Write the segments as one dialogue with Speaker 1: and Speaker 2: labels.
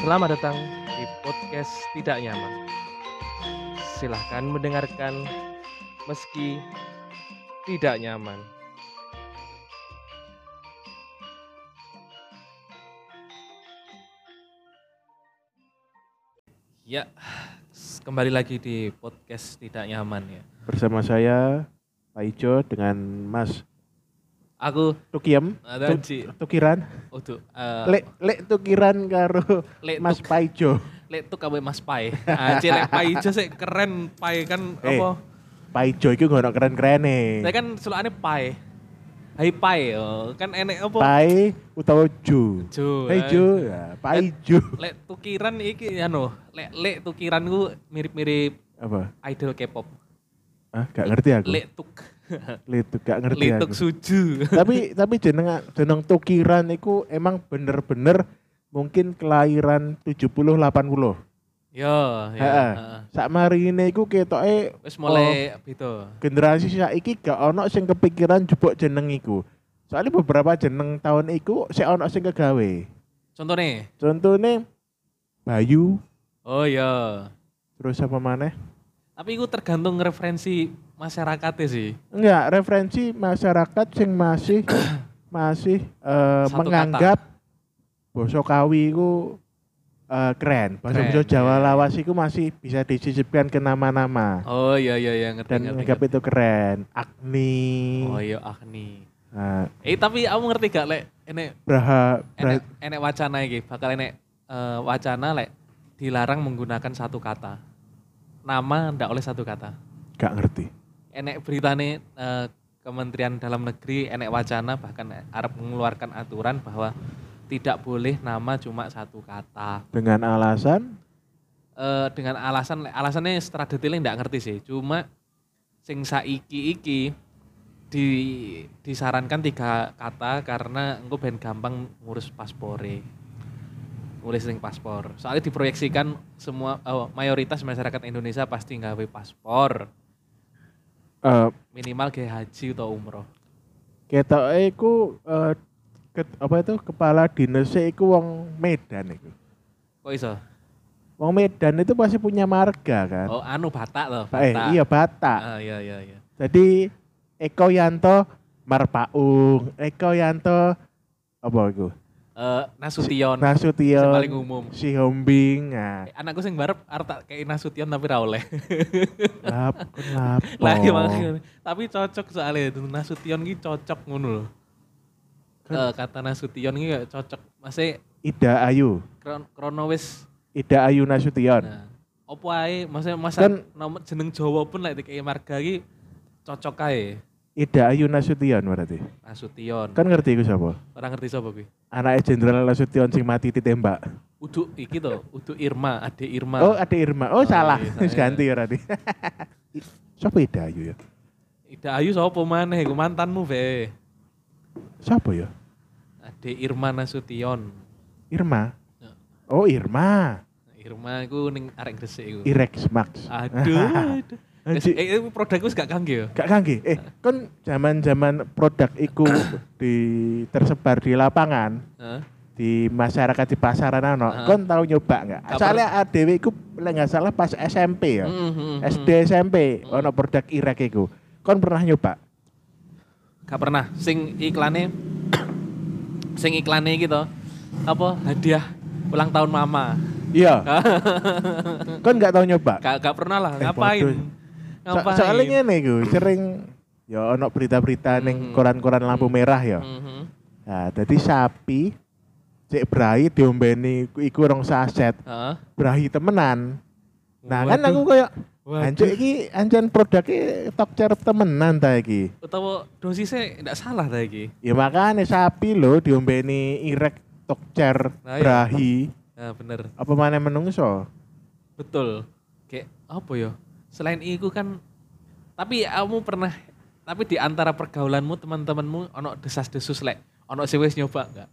Speaker 1: Selamat datang di podcast Tidak Nyaman. Silahkan mendengarkan meski tidak nyaman. Ya, kembali lagi di podcast Tidak Nyaman ya.
Speaker 2: bersama saya Pak Ijo dengan Mas
Speaker 1: Aku
Speaker 2: Tukiem
Speaker 1: ada
Speaker 2: Tu-
Speaker 1: Ci Ah.
Speaker 2: Tukiran
Speaker 1: untuk eh,
Speaker 2: lek lek Tukiran karo Mas
Speaker 1: Mas
Speaker 2: Pak Ijo
Speaker 1: Lek tuh kabe Mas Pai. Aja Lek Pai aja sih keren Pai kan
Speaker 2: Eh.
Speaker 1: apa?
Speaker 2: Pak Ijo itu gak keren keren
Speaker 1: Saya
Speaker 2: nih
Speaker 1: kan selalu pai. Hai pai, oh. kan enek apa?
Speaker 2: Pai utawa Ju
Speaker 1: Jo. eh.
Speaker 2: Hai Jo ya, Pak Ijo
Speaker 1: Lek tukiran iki anu, lek lek tukiran ku mirip-mirip
Speaker 2: apa
Speaker 1: idol K-pop.
Speaker 2: ah gak ngerti aku
Speaker 1: Lek tuk.
Speaker 2: lituk gak ngerti
Speaker 1: Lek
Speaker 2: aku
Speaker 1: tuk suju.
Speaker 2: tapi tapi jeneng jeneng Tukiran itu emang bener-bener mungkin kelahiran 70 80
Speaker 1: Yo, ya.
Speaker 2: Heeh. Oh.
Speaker 1: heeh.
Speaker 2: sak marine iku ketoke
Speaker 1: Wis mulai beda.
Speaker 2: generasi saiki gak ono sing kepikiran jebok jeneng iku. Soalnya beberapa jeneng tahun iku sik ono sing kegawe.
Speaker 1: Contohnya,
Speaker 2: Contohnya Bayu,
Speaker 1: oh iya.
Speaker 2: terus apa maneh?
Speaker 1: Tapi itu tergantung referensi masyarakatnya sih.
Speaker 2: Enggak, referensi masyarakat sing masih masih eh,
Speaker 1: Satu
Speaker 2: menganggap basa kawi iku eh, keren. Bahasa-bahasa
Speaker 1: Keren,
Speaker 2: Jawa
Speaker 1: iya.
Speaker 2: lawas iku masih bisa disisipkan ke nama-nama.
Speaker 1: Oh iya iya iya ngerti
Speaker 2: Dan
Speaker 1: ngerti.
Speaker 2: menganggap itu keren. Agni,
Speaker 1: ngerti. Oh iya Agni.
Speaker 2: eh,
Speaker 1: Eh tapi aku ngerti gak lek enek
Speaker 2: Braha, Bra-
Speaker 1: enek, enek wacana iki bakal enek eh, wacana lek dilarang menggunakan satu kata. Nama ndak oleh satu kata.
Speaker 2: gak ngerti.
Speaker 1: enek beritane eh, Kementerian Dalam Negeri enek wacana bahkan Arab mengeluarkan aturan bahwa tidak boleh nama cuma satu kata
Speaker 2: Dengan alasan
Speaker 1: Eh, dengan alasan alasannya secara detailnya nggak ngerti sih cuma sing saiki iki di disarankan tiga kata karena engko ben gampang ngurus paspore ngurus sing paspor soalnya diproyeksikan semua eh, mayoritas masyarakat Indonesia pasti nggawe paspor
Speaker 2: eh,
Speaker 1: minimal kayak haji atau umroh
Speaker 2: Ketoke iku eh, ket- apa itu kepala dinas iku wong Medan iku.
Speaker 1: kok iso
Speaker 2: Wong Medan itu pasti punya marga kan.
Speaker 1: Oh, anu Batak loh, Batak.
Speaker 2: eh, iya Batak.
Speaker 1: Ah, iya, iya, iya.
Speaker 2: Jadi Eko Yanto Marpaung, Eko Yanto apa iku?
Speaker 1: Eh, Nasution.
Speaker 2: Nasution,
Speaker 1: Sing paling umum.
Speaker 2: Si Hombing. Nah,
Speaker 1: Eh, Anakku sing barep arep tak kayak Nasution tapi ra oleh.
Speaker 2: lap, lapo.
Speaker 1: Lah, iya, makanya. Tapi cocok soalnya itu Nasution ki cocok ngono loh.
Speaker 2: Kan-
Speaker 1: Eh, kata Nasution ki kayak cocok. Masih
Speaker 2: Ida Ayu,
Speaker 1: kron krono wis.
Speaker 2: Ida Ayu Nasution.
Speaker 1: Nah, opo ae, maksudnya masa
Speaker 2: Kan-
Speaker 1: nomor jeneng Jawa pun lek kayak marga ki cocok ae
Speaker 2: Ida Ayu Nasution berarti.
Speaker 1: Nasution.
Speaker 2: Kan ngerti iku sapa?
Speaker 1: Orang ngerti sapa kuwi?
Speaker 2: Anaknya Jenderal Nasution sing mati ditembak.
Speaker 1: Uduk iki to, Uduk Irma, Ade Irma.
Speaker 2: Oh, ada Irma. Oh,
Speaker 1: Oh,
Speaker 2: salah.
Speaker 1: iya,
Speaker 2: Terus
Speaker 1: salah.
Speaker 2: ganti ya berarti. Siapa Ida Ayu ya?
Speaker 1: Ida Ayu sapa maneh iku mantanmu be.
Speaker 2: Siapa ya?
Speaker 1: Ade Irma Nasution.
Speaker 2: Irma.
Speaker 1: Ya.
Speaker 2: Oh, Irma.
Speaker 1: Irma iku ning arek Gresik iku.
Speaker 2: Irex Max.
Speaker 1: Aduh. aduh. Wis-
Speaker 2: Anjir.
Speaker 1: Eh, eh, produkku wis gak kangge ya.
Speaker 2: Gak kangge. Eh, kan zaman-zaman produk iku di tersebar di lapangan,
Speaker 1: Hah?
Speaker 2: di masyarakat di pasaran ano.
Speaker 1: Ah.
Speaker 2: Kon tau nyoba nggak?
Speaker 1: Gak
Speaker 2: Soalnya ADW iku lek nggak salah pas SMP ya.
Speaker 1: Hmm, hmm, hmm.
Speaker 2: SD SMP ono produk Irek iku. Kon pernah nyoba?
Speaker 1: Gak pernah sing iklane sing iklane iki to. Apa hadiah ulang tahun mama.
Speaker 2: Iya. Kon nggak tau nyoba?
Speaker 1: Gak gak pernah lah,
Speaker 2: Eh,
Speaker 1: ngapain?
Speaker 2: bodoh. So-
Speaker 1: Ngapain?
Speaker 2: soalnya ngene iku, sering ya ono berita-berita ning
Speaker 1: Mhm.
Speaker 2: koran-koran lampu merah ya.
Speaker 1: Mhm.
Speaker 2: Nah, jadi sapi cek berahi diombeni iku- iku rong saset,
Speaker 1: Heeh.
Speaker 2: berahi temenan. Nah, kan
Speaker 1: Waduh,
Speaker 2: aku koyo
Speaker 1: waduh.
Speaker 2: anjuk iki anjen produknya top cerep temenan ta iki.
Speaker 1: utawa dosisnya ndak salah ta iki.
Speaker 2: Ya makane sapi lho diombeni irek top cer
Speaker 1: Nah, iya.
Speaker 2: berahi
Speaker 1: Nah, bener.
Speaker 2: apa maneh menungso.
Speaker 1: Betul. Kayak apa ya? Selain itu kan tapi kamu pernah tapi di antara pergaulanmu teman-temanmu ono desas-desus lek. Ono sing wis nyoba enggak?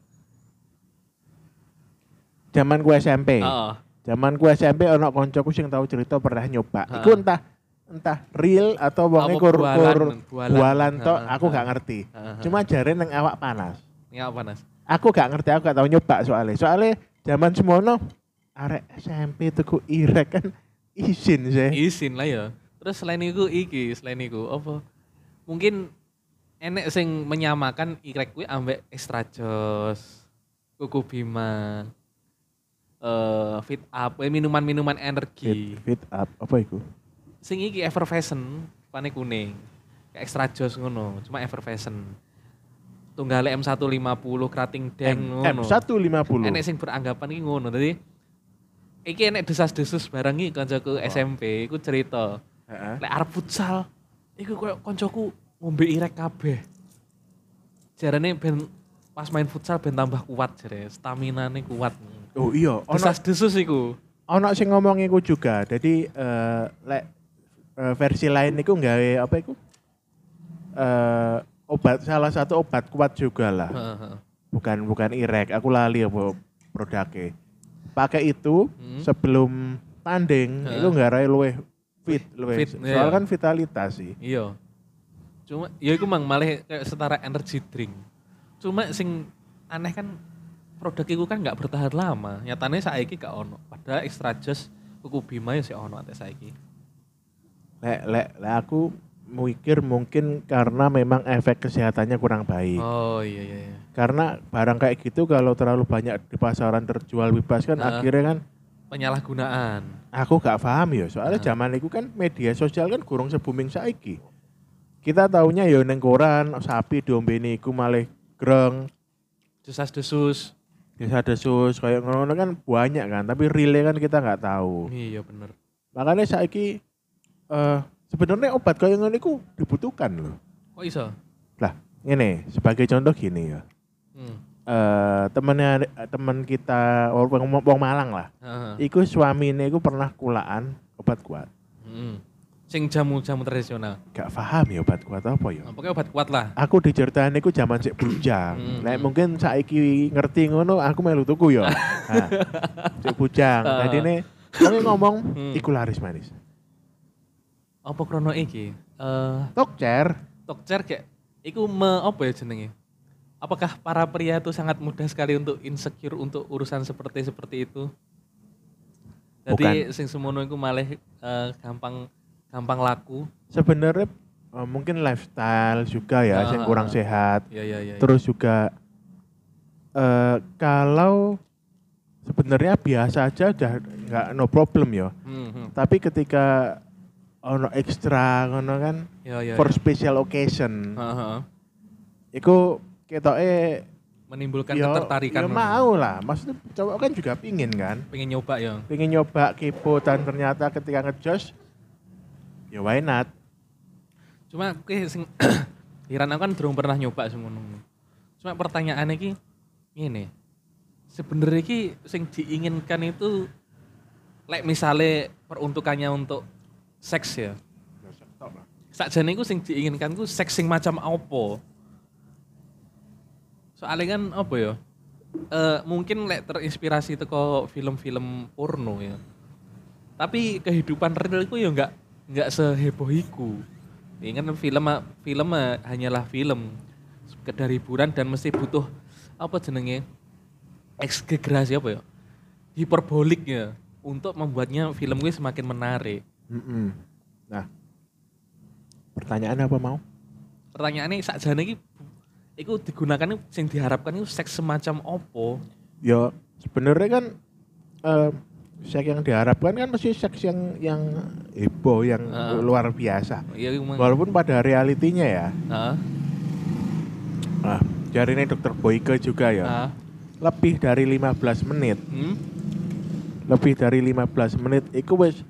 Speaker 2: Zaman ku SMP.
Speaker 1: Heeh.
Speaker 2: Zaman ku SMP ono koncoku sing tau cerita pernah nyoba.
Speaker 1: Ha.
Speaker 2: Iku entah entah real atau wonge
Speaker 1: Apa
Speaker 2: kur
Speaker 1: bualan,
Speaker 2: kur
Speaker 1: bualan.
Speaker 2: bualan tok,
Speaker 1: Ha, ha,
Speaker 2: aku
Speaker 1: ha.
Speaker 2: gak ngerti.
Speaker 1: Ha, ha,
Speaker 2: Cuma jare nang awak panas.
Speaker 1: Ini apa, Nas?
Speaker 2: Aku gak ngerti, aku gak tau nyoba soalnya. Soalnya zaman semono arek SMP tuku irek kan izin sih.
Speaker 1: Isin lah ya. Terus selain itu iki, selain itu apa? Mungkin enek sing menyamakan irek kuwi ambek extra jos, kuku bima, eh fit up, eh, minuman-minuman energi.
Speaker 2: Fit, fit up apa iku?
Speaker 1: Sing iki effervescent, warnane kuning. Kayak extra jos ngono, cuma effervescent. Tunggale M150 kerating deng ngono.
Speaker 2: M150.
Speaker 1: Enek sing beranggapan iki ngono. Dadi iki enek desas-desus bareng iki kancaku SMP, iku cerita.
Speaker 2: Heeh.
Speaker 1: Lek arep futsal, iku koyo koncoku ngombe irek kabeh. Jarane ben pas main futsal ben tambah kuat jare, staminane kuat.
Speaker 2: Oh iya, ono
Speaker 1: Desas-desus iku.
Speaker 2: ono sing ngomong iku juga. Jadi eh lek eh, versi lain iku nggawe apa iku? Eh obat salah satu obat kuat juga lah.
Speaker 1: Heeh, heeh.
Speaker 2: Bukan bukan irek, aku lali apa produknya. Pakai itu
Speaker 1: Hmm.
Speaker 2: sebelum tanding
Speaker 1: Heeh.
Speaker 2: itu nggarai luwih fit, luwih.
Speaker 1: Fit, iya.
Speaker 2: Soalnya kan vitalitas sih.
Speaker 1: Iya. Cuma ya iku mang malah kayak setara energy drink. Cuma sing aneh kan produk iku kan nggak bertahan lama. Nyatane saiki gak ono. Padahal extra just kuku Bima ya sih ono ate saiki.
Speaker 2: Lek lek lek aku mikir mungkin karena memang efek kesehatannya kurang baik.
Speaker 1: Oh iya iya iya.
Speaker 2: Karena barang kayak gitu kalau terlalu banyak di pasaran terjual bebas kan
Speaker 1: Nah.
Speaker 2: akhirnya kan
Speaker 1: Penyalahgunaan.
Speaker 2: aku gak paham ya soalnya
Speaker 1: Nah.
Speaker 2: zaman itu kan media sosial kan kurang se-booming saiki. Kita taunya ya neng koran sapi diombeni iku malih greng,
Speaker 1: Desas desus.
Speaker 2: desa desus kayak ngono kan banyak kan tapi relay kan kita nggak tahu.
Speaker 1: Iya bener.
Speaker 2: Makanya saiki eh sebenarnya obat kayak ngono itu dibutuhkan loh.
Speaker 1: Kok iso?
Speaker 2: Lah, ini sebagai contoh gini ya.
Speaker 1: Hmm.
Speaker 2: eh temennya teman kita orang wong- wong Malang lah.
Speaker 1: Heeh.
Speaker 2: Iku suamine iku pernah kulaan obat kuat.
Speaker 1: Hmm. Sing jamu-jamu tradisional.
Speaker 2: Gak paham ya obat kuat apa ya.
Speaker 1: Nah, pokoknya obat kuat lah.
Speaker 2: Aku diceritain iku zaman sik bujang.
Speaker 1: Hmm.
Speaker 2: Nek mungkin saiki ngerti ngono aku melu tuku ya. Nah, sik bujang.
Speaker 1: Ah.
Speaker 2: Tadi nih Nah, kami ngomong
Speaker 1: Hmm.
Speaker 2: iku laris manis.
Speaker 1: Apa krono iki? Eh
Speaker 2: Tokcer
Speaker 1: Tokcer kayak iku me, apa ya jenenge? Apakah para pria itu sangat mudah sekali untuk insecure untuk urusan seperti seperti itu? Jadi sing semono iku malah eh, gampang gampang laku.
Speaker 2: sebenarnya eh, mungkin lifestyle juga ya,
Speaker 1: Ah.
Speaker 2: yang kurang sehat.
Speaker 1: Ya ya ya.
Speaker 2: Terus juga eh kalau sebenarnya biasa aja udah nggak no problem ya.
Speaker 1: Hmm, hmm.
Speaker 2: Tapi ketika ono ekstra ngono kan
Speaker 1: Ya ya.
Speaker 2: for
Speaker 1: ya.
Speaker 2: special occasion.
Speaker 1: Ha, ha.
Speaker 2: Iku ketoke
Speaker 1: Menimbulkan
Speaker 2: ya,
Speaker 1: ketertarikan.
Speaker 2: ya mau lah. Maksudnya cowok kan juga pingin kan.
Speaker 1: Pengen nyoba ya.
Speaker 2: Pingin nyoba kepo dan ternyata ketika ngejos ya why not?
Speaker 1: Cuma aku ki sing Iran aku kan durung pernah nyoba semono. Cuma pertanyaannya ki ngene. Sebenarnya ki sing diinginkan itu lek misalnya peruntukannya untuk seks ya. Sakjane iku sing diinginkan ku seks sing macam apa? Soalnya kan apa ya? Eh mungkin lek terinspirasi teko film-film porno ya. Tapi kehidupan real iku ya nggak nggak seheboh iku. Ingat film film eh, hanyalah film sekedar hiburan dan mesti butuh apa jenenge? Eksgegerasi apa ya? Hiperbolik ya untuk membuatnya film gue semakin menarik.
Speaker 2: Mm-mm. Nah. Pertanyaan apa mau?
Speaker 1: pertanyaannya sakjane iki iku digunakan sing diharapkan itu seks semacam opo
Speaker 2: ya sebenarnya kan eh seks yang diharapkan kan mesti seks yang yang heboh yang
Speaker 1: Heeh.
Speaker 2: luar biasa
Speaker 1: ya iku mang-
Speaker 2: walaupun pada realitinya ya
Speaker 1: Heeh,
Speaker 2: nah, dari ini dokter Boyke juga ya
Speaker 1: heeh.
Speaker 2: lebih dari 15 menit
Speaker 1: Hmm?
Speaker 2: lebih dari 15 menit itu wis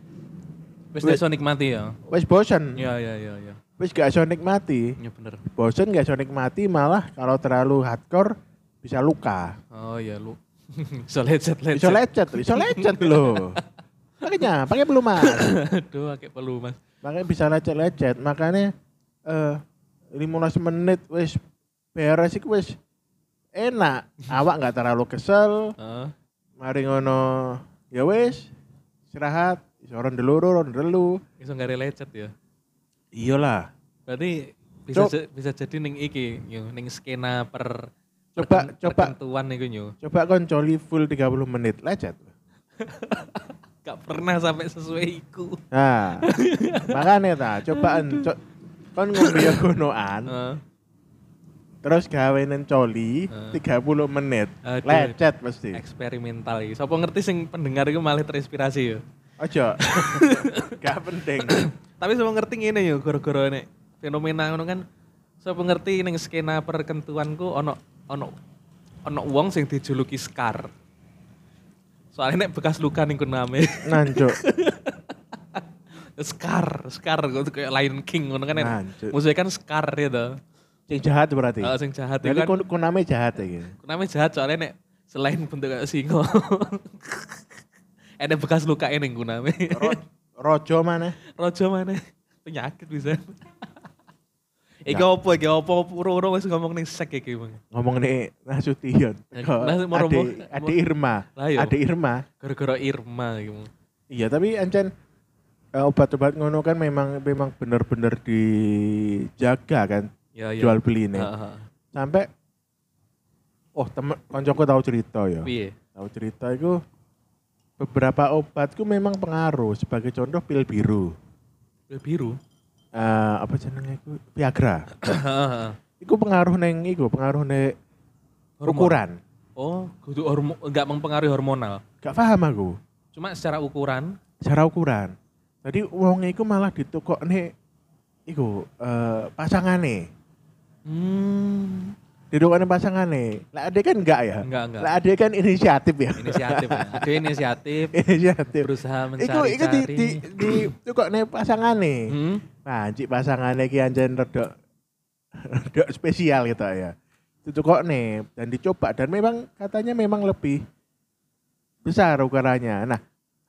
Speaker 1: wis
Speaker 2: Wis-
Speaker 1: iso nikmati ya
Speaker 2: wis bosen
Speaker 1: ya ya ya ya
Speaker 2: wis gak iso nikmati
Speaker 1: ya bener
Speaker 2: bosen gak iso nikmati malah kalau terlalu hardcore bisa luka
Speaker 1: oh ya lu iso lecet lecet
Speaker 2: bisa lecet bisa lecet loh makanya pakai pelumas
Speaker 1: aduh akeh perlu mas
Speaker 2: makanya bisa lecet-lecet makanya eh 15 menit wis beres iku wis enak awak nggak terlalu kesel
Speaker 1: Heeh.
Speaker 2: mari ngono ya wis istirahat orang dulu orang dulu
Speaker 1: iso gak lecet ya
Speaker 2: iyalah
Speaker 1: berarti bisa
Speaker 2: Cok.
Speaker 1: ja- bisa jadi ning iki yo ning skena per
Speaker 2: Coba-
Speaker 1: perken-
Speaker 2: coba.
Speaker 1: perkentuan iku yo
Speaker 2: coba kon coli full 30 menit lecet
Speaker 1: Gak pernah sampai sesuai iku.
Speaker 2: Nah, makanya ta, cobaan co kon ngombe ya gunoan,
Speaker 1: Heeh.
Speaker 2: terus gawe nang coli
Speaker 1: Eh.
Speaker 2: 30 menit.
Speaker 1: Aduh.
Speaker 2: Lecet mesti.
Speaker 1: eksperimental iki. Sopo ngerti sing pendengar iku malah terinspirasi yo.
Speaker 2: Ojo. Gak penting.
Speaker 1: Tapi sopo ngerti ngene yo gara-gara nek fenomena ngono kan sopo ngerti ning skena perkentuanku ono ono ono wong sing dijuluki Scar. Soalnya nek bekas luka ning kuname.
Speaker 2: Nanjuk.
Speaker 1: Scar, Scar gitu, kayak Lion King ngono kan nek
Speaker 2: Lanjut.
Speaker 1: musuhnya kan Scar gitu.
Speaker 2: Sing jahat berarti.
Speaker 1: Heeh sing jahat itu
Speaker 2: Jadi
Speaker 1: kan
Speaker 2: kon koname jahat iki.
Speaker 1: kuname jahat soalnya nek selain bentuk kayak singa. Ada bekas luka ning kuname.
Speaker 2: Ro- Rojo mana?
Speaker 1: Rojo mana? Penyakit bisa. Iki opo iki opo puru-puru wis ngomong ning sek iki, Bang.
Speaker 2: Ngomong nih Nasution.
Speaker 1: Ya,
Speaker 2: Kok
Speaker 1: Nas- mau
Speaker 2: Ade,
Speaker 1: romo-
Speaker 2: Ade Irma.
Speaker 1: Lah, iya. yo.
Speaker 2: Ade Irma.
Speaker 1: Gara-gara Irma iki. Bang.
Speaker 2: Iya, tapi ancen eh, obat-obat ngono kan memang memang bener-bener dijaga kan
Speaker 1: Ya ya.
Speaker 2: jual beli nih.
Speaker 1: Heeh.
Speaker 2: sampai oh temen koncoku tahu cerita ya
Speaker 1: Piye?
Speaker 2: tahu cerita itu beberapa obatku memang pengaruh sebagai contoh pil biru
Speaker 1: Pil biru.
Speaker 2: Eh, apa jenenge itu Viagra
Speaker 1: Heeh.
Speaker 2: itu pengaruh neng itu pengaruh neng
Speaker 1: Hormon.
Speaker 2: ukuran
Speaker 1: oh, kudu hormo enggak mempengaruhi hormonal.
Speaker 2: gak paham aku
Speaker 1: Cuma secara ukuran
Speaker 2: cara ukuran jadi wong itu malah ditukok nih iku eh pasangane
Speaker 1: hmm,
Speaker 2: didukokne pasangane lah ade kan enggak ya
Speaker 1: enggak enggak.
Speaker 2: lah ade kan inisiatif ya
Speaker 1: Inisiatif. ya. Ada inisiatif
Speaker 2: inisiatif
Speaker 1: berusaha
Speaker 2: Iku iku di di
Speaker 1: mencari-cari.
Speaker 2: di itu kok nih pasangane.
Speaker 1: Hmm?
Speaker 2: Nah, cik pasangane ki anjen redok redok spesial gitu ya. Itu kok nih dan dicoba dan memang katanya memang lebih besar ukurannya. Nah,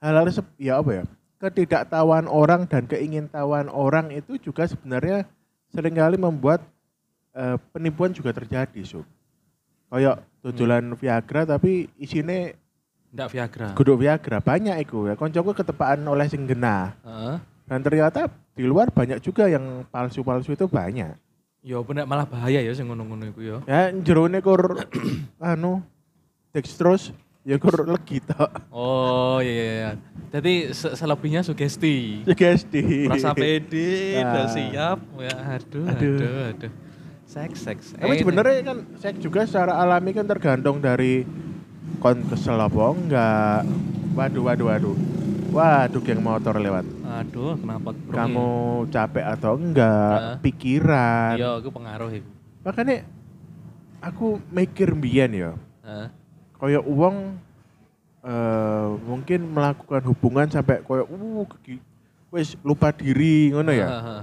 Speaker 2: hal-hal sep- ya apa ya? Ketidaktahuan orang dan keingintahuan orang itu juga sebenarnya seringkali membuat eh, penipuan juga terjadi, Sob. Kayak tujuan Viagra tapi isinya
Speaker 1: Enggak Viagra.
Speaker 2: Guduk Viagra banyak iku ya. Koncoku ketepaan oleh sing genah.
Speaker 1: Heeh.
Speaker 2: Dan ternyata di luar banyak juga yang palsu-palsu itu banyak.
Speaker 1: Ya bener malah bahaya ya sing ngono-ngono iku ya.
Speaker 2: Ya jerone kur anu dextrose ya kur legi tok.
Speaker 1: Oh iya iya. iya. Jadi se- selebihnya sugesti.
Speaker 2: Ya Sugesti.
Speaker 1: Merasa pede, udah
Speaker 2: Nah.
Speaker 1: siap. Ya, aduh,
Speaker 2: Aduh.
Speaker 1: aduh, aduh. Seks, seks. Eh,
Speaker 2: Tapi sebenarnya kan seks juga secara alami kan tergantung dari kon kesel apa enggak. Waduh waduh waduh. Waduh geng motor lewat.
Speaker 1: Hmm. Aduh, kenapa? Bro?
Speaker 2: Kamu kan- capek atau enggak?
Speaker 1: Ah.
Speaker 2: Pikiran.
Speaker 1: Iya, aku pengaruh itu.
Speaker 2: Makanya aku mikir mbiyen ya.
Speaker 1: Heeh.
Speaker 2: Kayak uang eh mungkin melakukan hubungan sampai kayak uh kegi- wis lupa diri ngono ya.
Speaker 1: Heeh.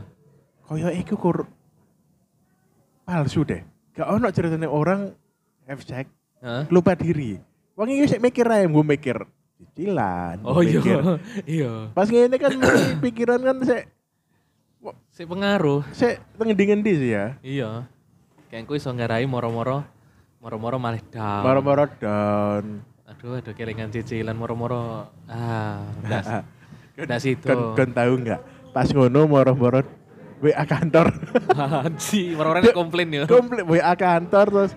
Speaker 2: Kayak iku kur palsu deh. Gak ono ceritanya orang have sex
Speaker 1: Heeh.
Speaker 2: lupa diri. Wong iki sik mikir ae, gue mikir cicilan,
Speaker 1: Oh iya,
Speaker 2: mikir.
Speaker 1: iya.
Speaker 2: Pas ngene kan mesti pikiran kan sik
Speaker 1: Si pengaruh.
Speaker 2: sik ngendi-ngendi sih ya.
Speaker 1: Iya. Kayak aku iso ngarai moro-moro. Moro-moro malah down.
Speaker 2: Moro-moro down.
Speaker 1: Aduh, aduh kelingan cicilan moro-moro. Ah, udah. udah situ.
Speaker 2: Kan kan tahu nggak? Pas ngono moro-moro WA kantor.
Speaker 1: Anji, moro-moro komplain ya.
Speaker 2: Komplit WA kantor terus